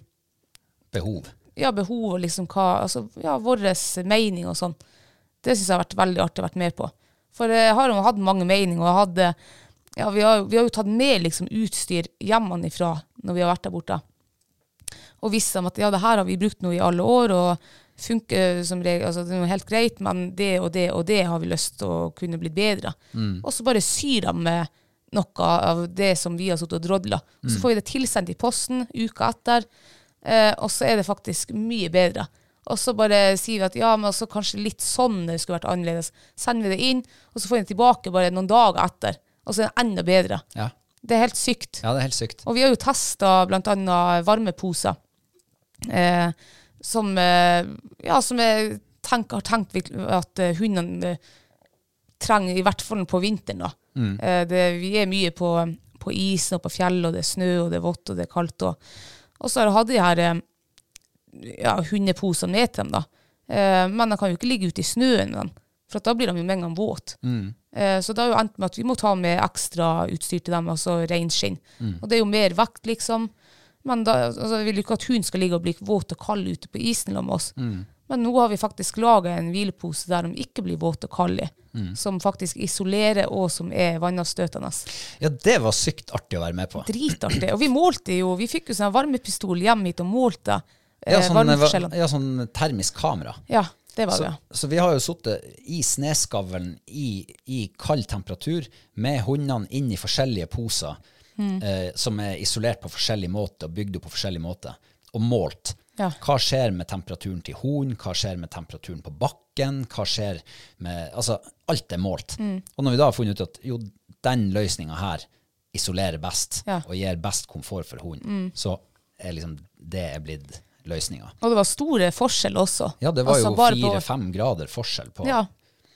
[SPEAKER 1] Behov.
[SPEAKER 2] ja, behov og liksom hva altså, ja, vår mening og sånn. Det syns jeg har vært veldig artig å vært med på. For eh, jeg har jo hatt mange meninger, og jeg hadde, ja, vi, har, vi har jo tatt med liksom, utstyr hjemmefra når vi har vært der borte. Og visst om at ja, det her har vi brukt nå i alle år, og funker som regel, altså det er jo helt greit, men det og det og det har vi lyst til å kunne bli bedre. Og så bare syr de med noe av det som vi har sittet og drodla. Og så får vi det tilsendt i posten uka etter, eh, og så er det faktisk mye bedre. Og så bare sier vi at ja, men også kanskje litt sånn det skulle vært annerledes. Sender vi det inn, og så får vi det tilbake bare noen dager etter. Og så er det enda bedre.
[SPEAKER 1] Ja.
[SPEAKER 2] Det er helt sykt.
[SPEAKER 1] ja, det er helt sykt.
[SPEAKER 2] Og vi har jo testa bl.a. varmeposer, eh, som, eh, ja, som jeg tenk, har tenkt virkelig at eh, hundene eh, trenger, i hvert fall på vinteren. da. Eh, det, vi er mye på, på isen og på fjell, og det er snø, og det er vått, og det er kaldt. Og, og så har jeg hatt de her eh, ja, hundeposene med til dem, da. Eh, men de kan jo ikke ligge ute i snøen, med dem, for at da blir de jo med en gang våte.
[SPEAKER 1] Mm.
[SPEAKER 2] Eh, så det har jo endt med at vi må ta med ekstra utstyr til dem, altså reinskinn.
[SPEAKER 1] Mm.
[SPEAKER 2] Og det er jo mer vekt, liksom. Men da, altså, jeg vil jo ikke at hun skal ligge og bli våt og kald ute på isen sammen med oss.
[SPEAKER 1] Mm.
[SPEAKER 2] Men nå har vi faktisk laga en hvilepose der de ikke blir våte og kalde i.
[SPEAKER 1] Mm.
[SPEAKER 2] Som faktisk isolerer, og som er vannavstøtende.
[SPEAKER 1] Ja, det var sykt artig å være med på.
[SPEAKER 2] Dritartig. Og vi målte jo, vi fikk jo sånn varmepistol hjem hit og målte eh,
[SPEAKER 1] Ja, sånn,
[SPEAKER 2] varmeforskjellene.
[SPEAKER 1] ja, sånn termisk kamera.
[SPEAKER 2] Ja, det var
[SPEAKER 1] Så,
[SPEAKER 2] det.
[SPEAKER 1] så vi har jo sittet i sneskavlen i, i kald temperatur med hundene inn i forskjellige poser
[SPEAKER 2] Mm.
[SPEAKER 1] eh, som er isolert på forskjellig måte og bygd opp på forskjellig måte, og målt.
[SPEAKER 2] Ja.
[SPEAKER 1] Hva skjer med temperaturen til hunden, hva skjer med temperaturen på bakken, hva skjer med Altså, alt er målt.
[SPEAKER 2] Mm.
[SPEAKER 1] Og når vi da har funnet ut at jo, den løsninga her isolerer best
[SPEAKER 2] Ja. Mm.
[SPEAKER 1] og gir best komfort for hunden, så er liksom det er blitt løsninga.
[SPEAKER 2] Og det var store forskjeller også.
[SPEAKER 1] Ja, det var
[SPEAKER 2] Altså, bare
[SPEAKER 1] jo
[SPEAKER 2] på-
[SPEAKER 1] fire-fem grader forskjell på
[SPEAKER 2] Ja,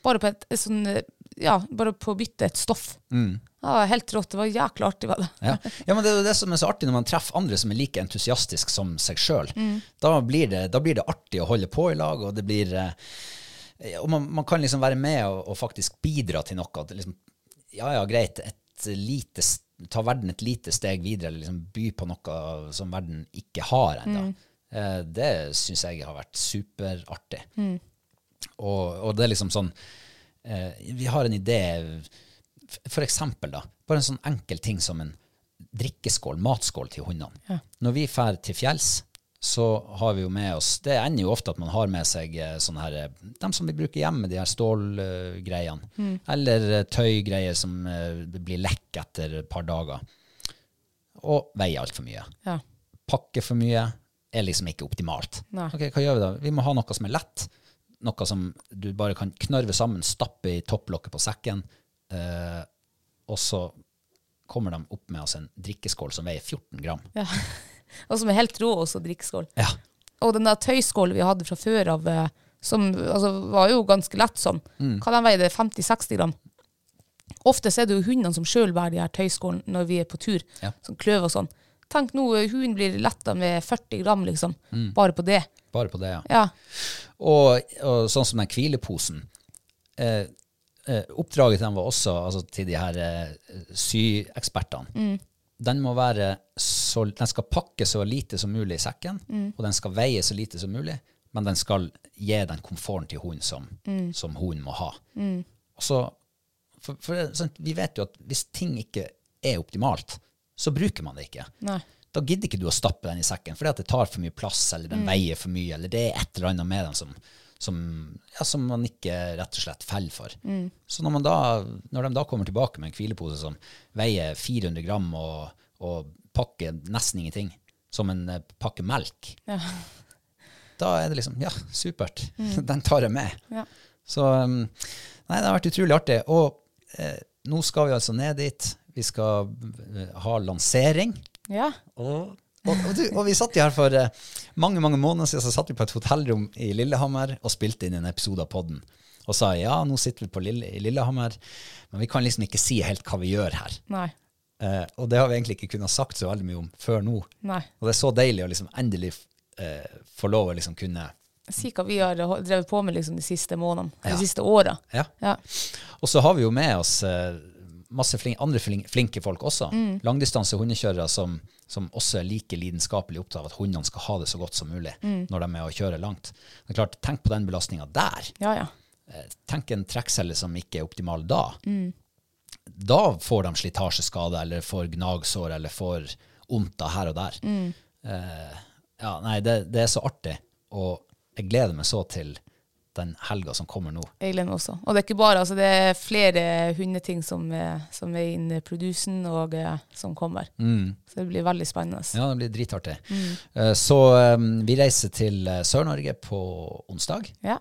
[SPEAKER 2] bare på, et, et sånn, eh, ja, bare på å bytte et stoff.
[SPEAKER 1] Mm.
[SPEAKER 2] Ja, helt rått. Det var jækla artig, var det.
[SPEAKER 1] Ja. ja, men Det er jo det som er så artig når man treffer andre som er like entusiastisk som seg sjøl. Da, blir det- da blir det artig å holde på i lag, og det blir eh, og man, man kan liksom være med og, og faktisk bidra til noe. At det liksom, ja, ja, greit, et lite, s- ta verden et lite steg videre, eller liksom by på noe som verden ikke har ennå. Eh, det syns jeg har vært superartig. Og, og det er liksom sånn eh, Vi har en idé f- For eksempel, da. Bare en sånn enkel ting som en drikkeskål, matskål til hundene. Når vi drar til fjells, så har vi jo med oss Det ender jo ofte at man har med seg eh, sånne her eh, dem som vi bruker hjemme, de her stålgreiene. Eller eh, tøygreier som eh, blir lekk etter et par dager. Og veier altfor mye
[SPEAKER 2] Ja.
[SPEAKER 1] pakke for mye er liksom ikke optimalt.
[SPEAKER 2] Nei.
[SPEAKER 1] Ok, Hva gjør vi da? Vi må ha noe som er lett. Noe som du bare kan knørve sammen, stappe i topplokket på sekken. Eh, og så kommer de opp med oss en drikkeskål som veier 14 gram.
[SPEAKER 2] Og som er helt rå også, drikkeskål.
[SPEAKER 1] Ja.
[SPEAKER 2] Og den der tøyskålen vi hadde fra før av, eh, som altså, var jo ganske lett sånn.
[SPEAKER 1] Mm.
[SPEAKER 2] Hva den veide? 50-60 gram? Ofte så er det jo hundene som sjøl bærer de her tøyskålene når vi er på tur,
[SPEAKER 1] Ja.
[SPEAKER 2] som kløver og sånn. Tenk nå, eh, hunden blir letta med 40 gram, liksom.
[SPEAKER 1] Mm.
[SPEAKER 2] Bare på det.
[SPEAKER 1] Bare på det, ja.
[SPEAKER 2] Ja.
[SPEAKER 1] Og, og sånn som den hvileposen. Eh, eh, oppdraget til dem var også, altså til de her eh, syekspertene, den må være så, den skal pakke så lite som mulig i sekken, og den skal veie så lite som mulig, men den skal gi den komforten til hunden som, som hunden må ha. Og så, for, for det er sant, vi vet jo at hvis ting ikke er optimalt, så bruker man det ikke.
[SPEAKER 2] Nei.
[SPEAKER 1] Da gidder ikke du å stappe den i sekken fordi at det tar for mye plass, eller den veier for mye, eller det er et eller annet med den som, som, ja, som man ikke rett og slett faller for. Så når, man da, når de da kommer tilbake med en hvilepose som veier 400 gram og, og pakker nesten ingenting, som en eh, pakke melk, da er det liksom Ja, supert. Den tar jeg med.
[SPEAKER 2] Ja.
[SPEAKER 1] Så um, Nei, det har vært utrolig artig. Og eh, nå skal vi altså ned dit. Vi skal eh, ha lansering.
[SPEAKER 2] Ja.
[SPEAKER 1] Og, og, og, du, og vi satt jo her for eh, mange mange måneder siden, så satt vi på et hotellrom i Lillehammer og spilte inn en episode av podden. Og sa ja, nå sitter vi på Lille, i Lillehammer, men vi kan liksom ikke si helt hva vi gjør her.
[SPEAKER 2] Nei.
[SPEAKER 1] Eh, og det har vi egentlig ikke kunnet sagt så veldig mye om før nå.
[SPEAKER 2] Nei.
[SPEAKER 1] Og det er så deilig å liksom endelig eh, få lov å liksom kunne
[SPEAKER 2] Si hva vi har ho- drevet på med liksom de siste månedene,
[SPEAKER 1] Ja.
[SPEAKER 2] de siste åra.
[SPEAKER 1] Ja.
[SPEAKER 2] Ja.
[SPEAKER 1] Og så har vi jo med oss eh, masse flin andre flin flinke folk også. Langdistanse hundekjørere som, som også er like lidenskapelig opptatt av at hundene skal ha det så godt som mulig når de er og kjører langt. Det er klart, Tenk på den belastninga der.
[SPEAKER 2] ja, ja.
[SPEAKER 1] Eh, Tenk en trekkcelle som ikke er optimal da. Da får de slitasjeskade eller får gnagsår eller får vondt av her og der. Eh, ja, nei, det, det er så artig, og jeg gleder meg så til den helga som kommer nå.
[SPEAKER 2] Jeg gleder meg også. Og det er ikke bare, altså det er flere hundeting som, er- som er inn i produsen og eh, som kommer.
[SPEAKER 1] Mm.
[SPEAKER 2] Så det blir veldig spennende.
[SPEAKER 1] Ja, det blir dritartig. Eh, Så um, vi reiser til eh, Sør-Norge på onsdag,
[SPEAKER 2] Ja.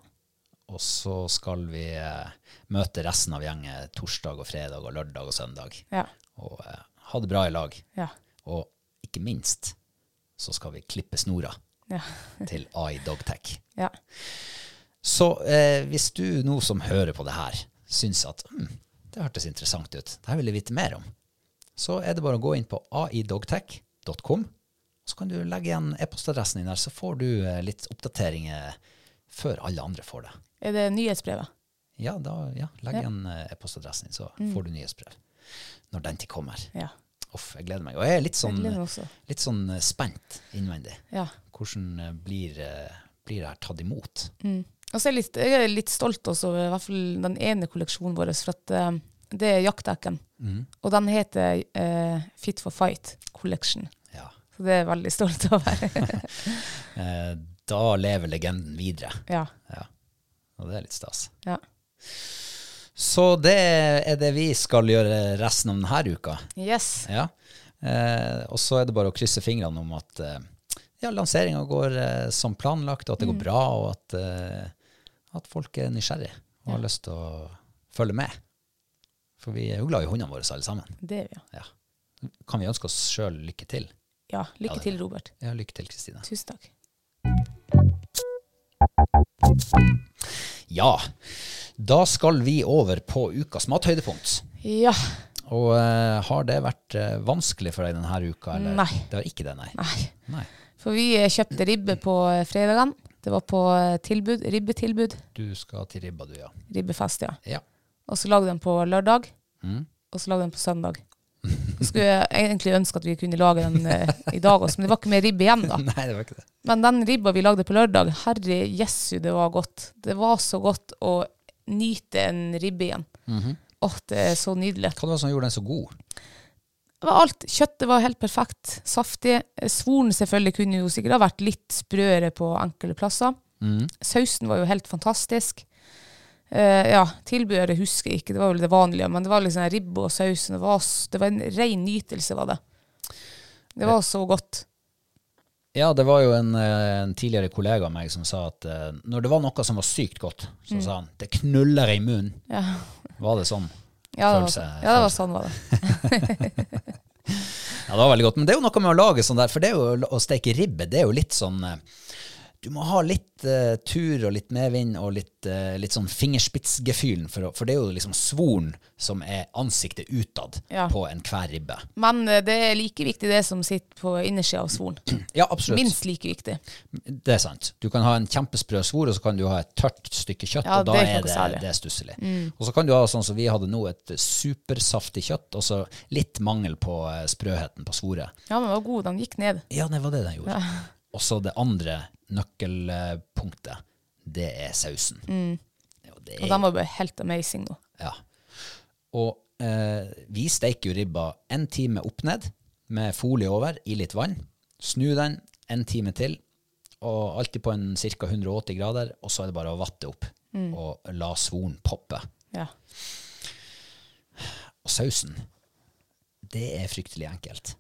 [SPEAKER 1] og så skal vi eh, møte resten av gjengen torsdag og fredag og lørdag og søndag.
[SPEAKER 2] Ja.
[SPEAKER 1] Og eh, ha det bra i lag.
[SPEAKER 2] Ja.
[SPEAKER 1] Og ikke minst så skal vi klippe snora
[SPEAKER 2] Ja.
[SPEAKER 1] til AI Dogtech.
[SPEAKER 2] ja.
[SPEAKER 1] Så eh, hvis du nå som hører på det her, syns at hm, det hørtes interessant ut, det her vil jeg vite mer om, så er det bare å gå inn på aidogtech.com, så kan du legge igjen e-postadressen din der, så får du eh, litt oppdateringer før alle andre får det.
[SPEAKER 2] Er det nyhetsbrevet?
[SPEAKER 1] Ja, da, ja legg igjen eh, e-postadressen din, så
[SPEAKER 2] Mm.
[SPEAKER 1] får du nyhetsbrev når den tid kommer.
[SPEAKER 2] Ja.
[SPEAKER 1] Uff, jeg gleder meg. Og jeg er litt
[SPEAKER 2] Jeg
[SPEAKER 1] sånn,
[SPEAKER 2] gleder meg også.
[SPEAKER 1] litt sånn eh, spent innvendig.
[SPEAKER 2] Ja.
[SPEAKER 1] Hvordan eh, blir, eh, blir det her tatt imot?
[SPEAKER 2] mm. Og så er jeg litt, jeg er litt stolt også over i hvert fall den ene kolleksjonen vår, for at eh, det er jaktdekken. Og den heter eh, Fit for Fight Collection.
[SPEAKER 1] Ja.
[SPEAKER 2] Så det er jeg veldig stolt over.
[SPEAKER 1] Eh, da lever legenden videre.
[SPEAKER 2] ja.
[SPEAKER 1] Ja. Og det er litt stas.
[SPEAKER 2] ja.
[SPEAKER 1] Så det er det vi skal gjøre resten av denne uka.
[SPEAKER 2] Yes.
[SPEAKER 1] Ja. Eh, og så er det bare å krysse fingrene om at eh, ja, lanseringa går eh, som planlagt, og at det går bra, og at, eh, at folk er nysgjerrige og har lyst til å følge med. For vi er jo glad i hundene våre alle sammen.
[SPEAKER 2] Det er vi, ja.
[SPEAKER 1] Ja. Kan vi ønske oss sjøl lykke til?
[SPEAKER 2] Ja, lykke til, Robert.
[SPEAKER 1] Ja, lykke til, Kristine.
[SPEAKER 2] Tusen takk.
[SPEAKER 1] Ja, da skal vi over på ukas mathøydepunkt.
[SPEAKER 2] Ja.
[SPEAKER 1] Og eh, har det vært eh, vanskelig for deg denne uka? Eller?
[SPEAKER 2] Nei.
[SPEAKER 1] Det har ikke det, nei.
[SPEAKER 2] Nei.
[SPEAKER 1] Nei.
[SPEAKER 2] For vi eh, kjøpte ribbe på eh, fredagen. Det var på eh, tilbud, ribbetilbud.
[SPEAKER 1] Du skal til ribba, du, ja.
[SPEAKER 2] Ribbefest, ja.
[SPEAKER 1] Ja.
[SPEAKER 2] Og så lagde den på lørdag. Og så lagde den på søndag. Jeg skulle jeg egentlig ønske at vi kunne lage den eh, i dag også, men det var ikke mer ribbe igjen da.
[SPEAKER 1] Nei, det var ikke det.
[SPEAKER 2] Men den ribba vi lagde på lørdag, herre jessu, det var godt. Det var så godt å nyte en ribbe igjen. Åh, det er så nydelig.
[SPEAKER 1] Hva var det som gjorde den så god?
[SPEAKER 2] Det var alt. Kjøttet var helt perfekt, saftig. Eh, Svoren selvfølgelig kunne jo sikkert ha vært litt sprøere på enkelte plasser.
[SPEAKER 1] Mm.
[SPEAKER 2] Sausen var jo helt fantastisk. Eh, ja, tilbehøret husker jeg ikke, det var vel det vanlige, men det var liksom ribbe og sausen. Det var, s- det var en ren nytelse, var det. Det var så godt.
[SPEAKER 1] Ja, det var jo en, eh, en tidligere kollega av meg som sa at eh, når det var noe som var sykt godt, så sa han 'det knuller i munnen'.
[SPEAKER 2] Ja,
[SPEAKER 1] Var det sånn?
[SPEAKER 2] ja, det, var,
[SPEAKER 1] Følelse-
[SPEAKER 2] sånn. ja det var sånn var det.
[SPEAKER 1] Ja, det var veldig godt. Men det er jo noe med å lage sånn der, for det er jo å steke ribbe, det er jo litt sånn eh, Du må ha litt eh, tur og litt medvind og litt, eh, litt sånn fingerspitzgefühlen, for, å- for det er jo liksom svoren som er ansiktet utad
[SPEAKER 2] Ja.
[SPEAKER 1] på enhver ribbe.
[SPEAKER 2] Men eh, det er like viktig det som sitter på innersida av svoren.
[SPEAKER 1] Ja, absolutt.
[SPEAKER 2] Minst like viktig.
[SPEAKER 1] Det er sant. Du kan ha en kjempesprø svor, og så kan du ha et tørt stykke kjøtt,
[SPEAKER 2] Ja,
[SPEAKER 1] og da
[SPEAKER 2] det er ikke
[SPEAKER 1] er
[SPEAKER 2] noe
[SPEAKER 1] det,
[SPEAKER 2] særlig. Mm.
[SPEAKER 1] det er stusselig. Og så kan du ha sånn som vi hadde nå, et supersaftig kjøtt, og så litt mangel på eh, sprøheten på svoret.
[SPEAKER 2] Ja, men den var god, den gikk ned.
[SPEAKER 1] Ja, det var det den gjorde. Og så det andre nøkkelpunktet, det er sausen. Ja, det
[SPEAKER 2] Og
[SPEAKER 1] er,
[SPEAKER 2] den var bare helt amazing nå.
[SPEAKER 1] ja. Og eh, vi steiker jo ribba en time opp ned, med folie over, i litt vann. Snu den en time til, og alltid på en ca. 180 grader, og så er det bare å vatte opp og la svoren poppe.
[SPEAKER 2] Ja.
[SPEAKER 1] Og sausen, det er fryktelig enkelt.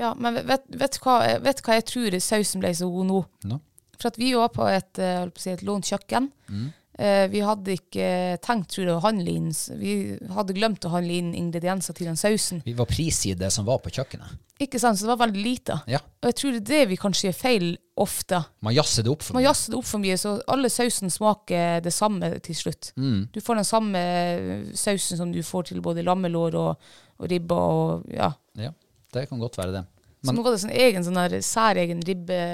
[SPEAKER 2] Ja, men vet, vet, du hva, vet du hva jeg tror sausen ble så god nå?
[SPEAKER 1] Nå? Mm.
[SPEAKER 2] For at vi var på et, eh, holdt på å si, et lånt kjøkken. Eh, vi hadde ikke tenkt, tror jeg, å handle inn s- Vi hadde glemt å handle inn ingredienser til den sausen.
[SPEAKER 1] Vi var pris i det som var på kjøkkenet.
[SPEAKER 2] Ikke sant? Så det var veldig lite.
[SPEAKER 1] Ja.
[SPEAKER 2] Og jeg tror det er det vi kanskje gjør feil ofte.
[SPEAKER 1] Man jazzer det opp for
[SPEAKER 2] Man
[SPEAKER 1] mye.
[SPEAKER 2] jazzer det opp for mye, så alle sausen smaker det samme til slutt.
[SPEAKER 1] Mm.
[SPEAKER 2] Du får den samme sausen som du får til både lammelår og, og ribba og ja.
[SPEAKER 1] Ja, det kan godt være det.
[SPEAKER 2] Så
[SPEAKER 1] Men
[SPEAKER 2] nå var det sånn egen sånn der særegen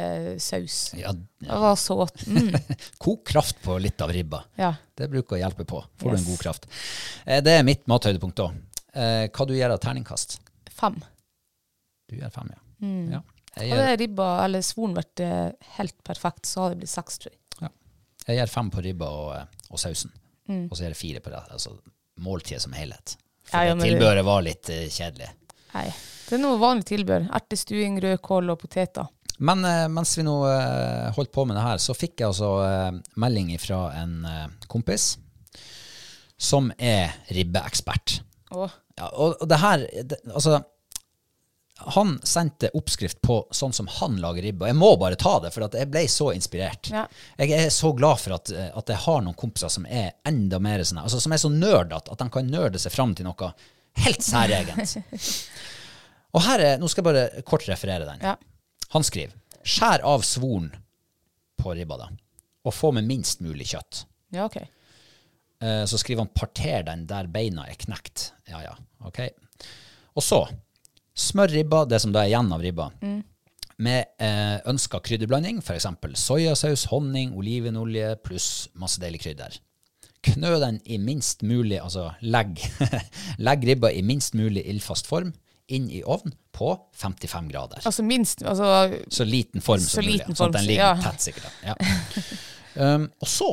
[SPEAKER 2] ribbesaus.
[SPEAKER 1] ja,
[SPEAKER 2] Det var så godt. Mm.
[SPEAKER 1] kok kraft på litt av ribba.
[SPEAKER 2] Ja.
[SPEAKER 1] Det bruker å hjelpe på. Får du
[SPEAKER 2] Yes.
[SPEAKER 1] en god kraft. Eh, Det er mitt mathøydepunkt òg. Hva du gjør av terningkast?
[SPEAKER 2] Fem.
[SPEAKER 1] Du gjør fem, ja.
[SPEAKER 2] Mm.
[SPEAKER 1] ja. Jeg, gjør,
[SPEAKER 2] Hadde ribba eller svoren vært eh, helt perfekt, så hadde det blitt seks, tror jeg.
[SPEAKER 1] ja. jeg gjør fem på ribba og, eh, og sausen. Og så gjør jeg fire på det. Altså måltidet som helhet. For
[SPEAKER 2] Mm. Ja, ja,
[SPEAKER 1] det
[SPEAKER 2] men det-
[SPEAKER 1] tilbehøret var litt eh, kjedelig.
[SPEAKER 2] Nei. Det er noe vanlig tilbehør. Ertestuing, rødkål og poteter.
[SPEAKER 1] Men eh, mens vi nå eh, holdt på med det her, så fikk jeg altså eh, melding fra en eh, kompis som er ribbeekspert.
[SPEAKER 2] Åh.
[SPEAKER 1] Ja, og, og det her det, Altså, han sendte oppskrift på sånn som han lager ribbe. Og jeg må bare ta det, for at jeg ble så inspirert.
[SPEAKER 2] Ja.
[SPEAKER 1] Jeg er så glad for at, eh, at jeg har noen kompiser som er enda mer sånn her, altså som er så nerdete at de kan nerde seg fram til noe helt særegent. og her er, Nå skal jeg bare kort referere den.
[SPEAKER 2] Ja.
[SPEAKER 1] Han skriver Skjær av svoren på ribba, da, og få med minst mulig kjøtt.
[SPEAKER 2] Ja, OK.
[SPEAKER 1] Eh, Så skriver han 'parter den der beina er knekt'. Ja, ja, ok. Og så smør ribba, det som da er igjen av ribba,
[SPEAKER 2] Mm.
[SPEAKER 1] med eh, ønska krydderblanding, f.eks. soyasaus, honning, olivenolje pluss masse deilig krydder. Knø den i minst mulig, altså legg, legg ribba i minst mulig ildfast form inn i ovn på 55 grader.
[SPEAKER 2] Altså minst altså,
[SPEAKER 1] Så liten form
[SPEAKER 2] Så
[SPEAKER 1] som mulig.
[SPEAKER 2] liten
[SPEAKER 1] sånn at
[SPEAKER 2] form,
[SPEAKER 1] den ligger
[SPEAKER 2] ja.
[SPEAKER 1] tett, sikkert. Ja. Um, og så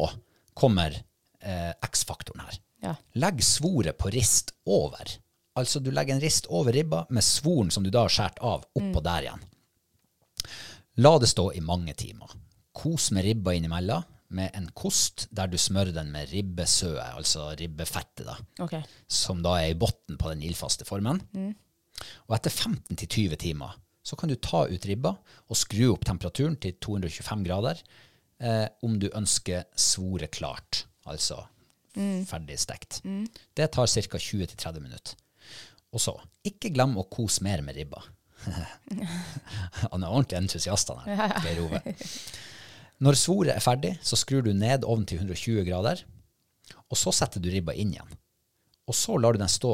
[SPEAKER 1] kommer eh, X-faktoren her.
[SPEAKER 2] Ja.
[SPEAKER 1] Legg svoret på rist over. Altså du legger en rist over ribba med svoren som du da har skåret av, oppå der igjen. La det stå i mange timer. Kos med ribba innimellom med en kost der du smører den med ribbesøe, altså ribbefettet, da
[SPEAKER 2] OK.
[SPEAKER 1] som da er i bunnen på den ildfaste formen. Og etter 15-20 timer så kan du ta ut ribba og skru opp temperaturen til 225 grader eh, om du ønsker svoret klart, altså ferdig stekt. Det tar ca. 20-30 minutter. Og så, ikke glem å kose mer med ribba. Han er ordentlig entusiast, han her. Geir Ove. Når svoret er ferdig, så skrur du ned ovnen til 120 grader, og så setter du ribba inn igjen. Og så lar du den stå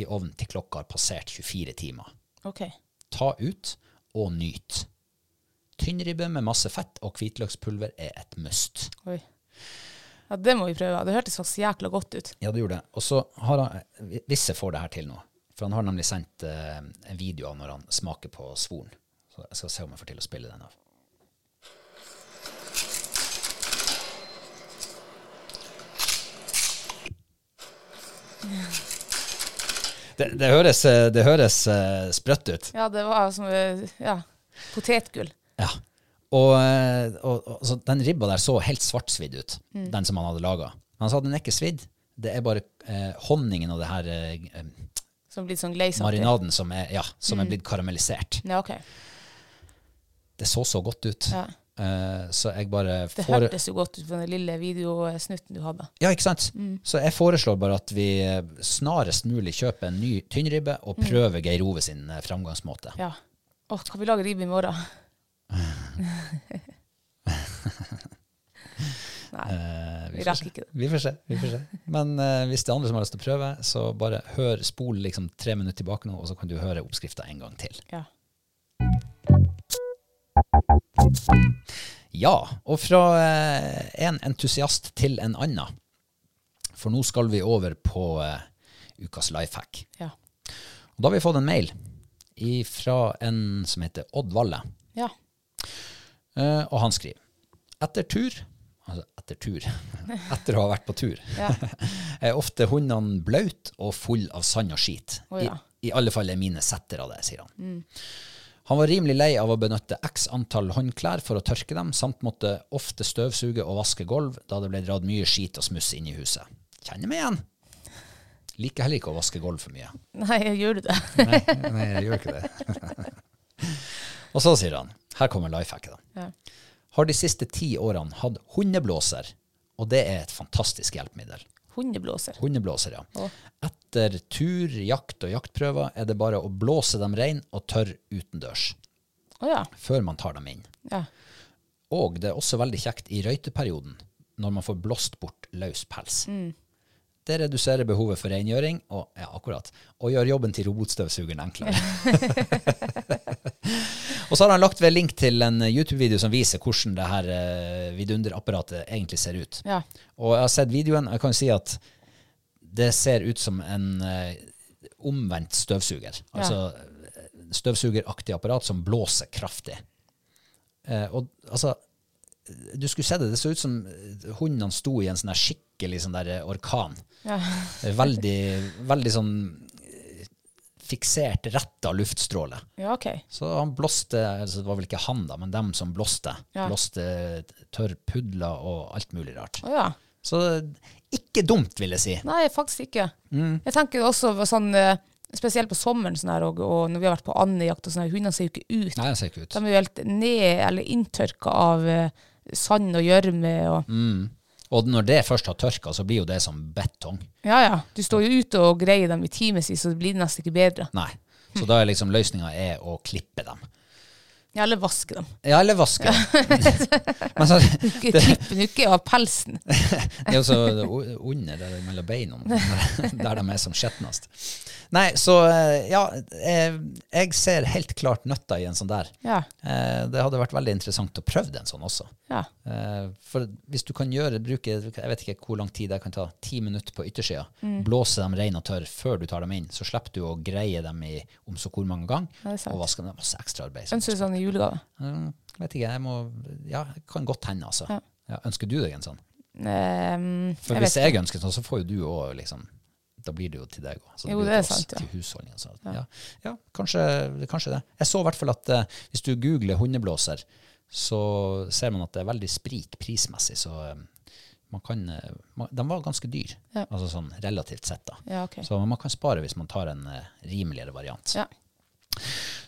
[SPEAKER 1] i ovnen til klokka har passert 24 timer.
[SPEAKER 2] ok.
[SPEAKER 1] Ta ut og nyt. Tynnribbe med masse fett og hvitløkspulver er et must.
[SPEAKER 2] Oi. Ja, det må vi prøve. Det hørtes faktisk jækla godt ut.
[SPEAKER 1] Ja, du gjorde det. Og så har han, hvis jeg får det her til nå, for han har nemlig sendt eh, en video av når han smaker på svoren. Så jeg skal se om jeg får til å spille den av. Det, det høres, eh, det høres eh, sprøtt ut.
[SPEAKER 2] Ja, det var som eh, ja, potetgull.
[SPEAKER 1] Ja. Og, eh, og, og så den ribba der så helt svartsvidd ut, den som han hadde laga. Men han sa den er ikke svidd, det er bare eh, honningen og det her eh,
[SPEAKER 2] Som blir sånn glaisaktig.
[SPEAKER 1] marinaden som, er, ja, som
[SPEAKER 2] Mm.
[SPEAKER 1] er blitt karamellisert.
[SPEAKER 2] Ja, OK.
[SPEAKER 1] Det så så godt ut.
[SPEAKER 2] Ja.
[SPEAKER 1] Eh, så jeg bare
[SPEAKER 2] Det
[SPEAKER 1] fore-
[SPEAKER 2] hørtes jo godt ut på den lille videosnutten du hadde.
[SPEAKER 1] Ja, ikke sant?
[SPEAKER 2] Mm.
[SPEAKER 1] Så jeg foreslår bare at vi eh, snarest mulig kjøper en ny tynnribbe og
[SPEAKER 2] Mm.
[SPEAKER 1] prøver Geir Ove sin eh, framgangsmåte.
[SPEAKER 2] Ja. Å, kan vi lage ribbe i morgen? Nei,
[SPEAKER 1] Eh,
[SPEAKER 2] vi
[SPEAKER 1] får
[SPEAKER 2] rakk
[SPEAKER 1] se.
[SPEAKER 2] ikke det.
[SPEAKER 1] Vi får se. Vi får se. Men eh, hvis det er andre som har lyst til å prøve, så bare hør, spol liksom tre minutter tilbake nå, og så kan du høre oppskrifta en gang til.
[SPEAKER 2] ja.
[SPEAKER 1] Ja, og fra eh, en entusiast til en annen. For nå skal vi over på eh, ukas lifehack.
[SPEAKER 2] Ja.
[SPEAKER 1] Og da har vi fått en mail fra en som heter Odd Valle.
[SPEAKER 2] ja.
[SPEAKER 1] Eh, og han skriver Etter tur Altså etter tur. Etter å ha vært på tur.
[SPEAKER 2] Ja.
[SPEAKER 1] er ofte hundene blaut og full av sand og skit.
[SPEAKER 2] Å ja. Mm.
[SPEAKER 1] I, I alle fall er mine setter av det, sier han. Han var rimelig lei av å benytte x antall håndklær for å tørke dem, samt måtte ofte støvsuge og vaske gulv da det ble dratt mye skit og smuss inn i huset. Kjenner meg igjen. Liker heller ikke å vaske gulv for mye.
[SPEAKER 2] Nei, gjør du det?
[SPEAKER 1] Nei, nei, jeg gjør ikke det. og så sier han, her kommer lifehacket da.
[SPEAKER 2] Ja.
[SPEAKER 1] Har de siste ti årene hatt hundeblåser, Og det er et fantastisk hjelpemiddel.
[SPEAKER 2] Hundeblåser.
[SPEAKER 1] Hundeblåser, ja.
[SPEAKER 2] Å.
[SPEAKER 1] Etter tur, jakt og jaktprøver er det bare å blåse dem rein og tørr utendørs,
[SPEAKER 2] Å ja.
[SPEAKER 1] før man tar dem inn.
[SPEAKER 2] ja.
[SPEAKER 1] Og det er også veldig kjekt i røyteperioden, når man får blåst bort løs pels. Det reduserer behovet for rengjøring og, ja, akkurat, og gjør jobben til robotstøvsugeren enklere. og så har han lagt ved link til en YouTube-video som viser hvordan det her eh, vidunderapparatet egentlig ser ut.
[SPEAKER 2] Ja.
[SPEAKER 1] Og jeg har sett videoen, og jeg kan si at det ser ut som en eh, omvendt støvsuger. Altså eh, støvsugeraktig apparat som blåser kraftig. Eh, og altså Du skulle se det. Det så ut som eh, hundene sto i en sånn her skikkelig sånn der eh, orkan.
[SPEAKER 2] Ja.
[SPEAKER 1] Eh, Veldig, veldig sånn eh, fiksert, retta luftstråle.
[SPEAKER 2] ja, ok.
[SPEAKER 1] Så han blåste altså Det var vel ikke han, da, men dem som blåste.
[SPEAKER 2] Ja.
[SPEAKER 1] Blåste eh, tørr pudler og alt mulig rart.
[SPEAKER 2] Å ja.
[SPEAKER 1] Så ikke dumt, vil jeg si.
[SPEAKER 2] Nei, faktisk ikke.
[SPEAKER 1] Mm.
[SPEAKER 2] Jeg tenker også sånn, eh, spesielt på sommeren sånn her, og, og når vi har vært på andejakt, og sånn her, hundene ser jo ikke ut.
[SPEAKER 1] Nei, det ser ikke ut.
[SPEAKER 2] De er jo helt ned eller inntørka av eh, sand og gjørme. Og,
[SPEAKER 1] Mm. Og når det først har tørka, så blir jo det som betong.
[SPEAKER 2] Ja, ja. Du står jo ute og greier dem i timevis, så det blir nesten ikke bedre.
[SPEAKER 1] Nei. Så da er liksom løsninga er å klippe dem.
[SPEAKER 2] Ja, eller vaske dem.
[SPEAKER 1] Ja, eller vaske dem. Men så,
[SPEAKER 2] Ikke klippe den ikke av pelsen.
[SPEAKER 1] det er jo så under der mellom beina, der de er som skjetnest. Nei, så eh, ja, eh, jeg ser helt klart nøtta i en sånn der.
[SPEAKER 2] Ja.
[SPEAKER 1] Eh, Det hadde vært veldig interessant å prøve en sånn også.
[SPEAKER 2] Ja.
[SPEAKER 1] Eh, For hvis du kan gjøre, bruke jeg vet ikke hvor lang tid det kan ta, ti minutter på yttersida,
[SPEAKER 2] Mm.
[SPEAKER 1] blåse dem rein og tørr før du tar dem inn, så slipper du å greie dem i om så hvor mange ganger,
[SPEAKER 2] Ja, det er sant.
[SPEAKER 1] og vaske dem. Det er masse ekstraarbeid. som-
[SPEAKER 2] Ønsker du sånn i julegave?
[SPEAKER 1] Mm, Vet ikke, jeg må Ja, det kan godt hende, altså.
[SPEAKER 2] Ja.
[SPEAKER 1] Ja, ønsker du deg en sånn?
[SPEAKER 2] Ehm,
[SPEAKER 1] For
[SPEAKER 2] jeg
[SPEAKER 1] hvis
[SPEAKER 2] vet
[SPEAKER 1] jeg ønsker sånn, så får jo du òg liksom da blir det jo til deg òg.
[SPEAKER 2] Jo, det er sant, ja.
[SPEAKER 1] Til husholdningen. Så. Ja. Ja. kanskje, kanskje det. Jeg så i hvert fall at eh, hvis du googler hundeblåser, så ser man at det er veldig sprik prismessig. Så eh, man kan eh, man, De var ganske dyre,
[SPEAKER 2] Ja.
[SPEAKER 1] altså sånn relativt sett, da.
[SPEAKER 2] Ja, ok.
[SPEAKER 1] Så man kan spare hvis man tar en eh, rimeligere variant.
[SPEAKER 2] Ja.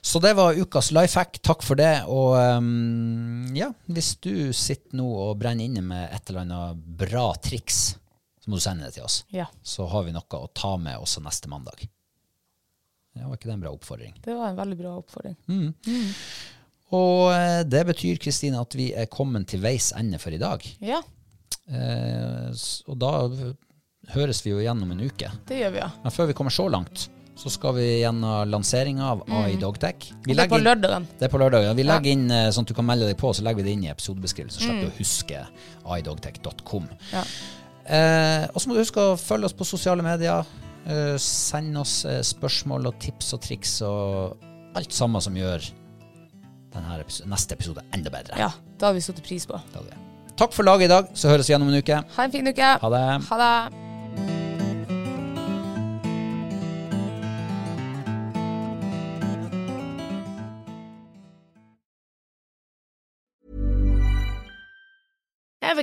[SPEAKER 1] Så det var ukas life hack. Takk for det. Og ehm, ja, hvis du sitter nå og brenner inne med et eller annet bra triks, så må du sende det til oss.
[SPEAKER 2] Ja.
[SPEAKER 1] Så har vi noe å ta med også neste mandag. Ja, var ikke det en bra oppfordring?
[SPEAKER 2] Det var en veldig bra oppfordring.
[SPEAKER 1] Mm. Og eh, det betyr, Kristine, at vi er kommet til veis ende for i dag.
[SPEAKER 2] Ja,
[SPEAKER 1] Eh, s- og da v- høres vi jo igjen om en uke.
[SPEAKER 2] det gjør vi, ja.
[SPEAKER 1] Men før vi kommer så langt, så skal vi gjennom lanseringa av AI Dogtech. Vi
[SPEAKER 2] Mm. Det er på
[SPEAKER 1] legger-
[SPEAKER 2] lørdagen.
[SPEAKER 1] Det er på lørdag. ja. Vi legger inn eh, sånn at du kan melde deg på, så legger vi det inn i episodebeskrivelsen. Så slipper du å huske idogtech.com.
[SPEAKER 2] Mm. Ja.
[SPEAKER 1] Eh, og så må du huske å følge oss på sosiale medier. Eh, send oss eh, spørsmål og tips og triks og alt sammen som gjør denne episo- neste episode enda bedre.
[SPEAKER 2] Ja, det har vi satt pris på.
[SPEAKER 1] Det er det. Takk for laget i dag. Så høres vi igjen om en uke.
[SPEAKER 2] Ha en fin uke.
[SPEAKER 1] Ha det.
[SPEAKER 2] Ha det.
[SPEAKER 4] Ever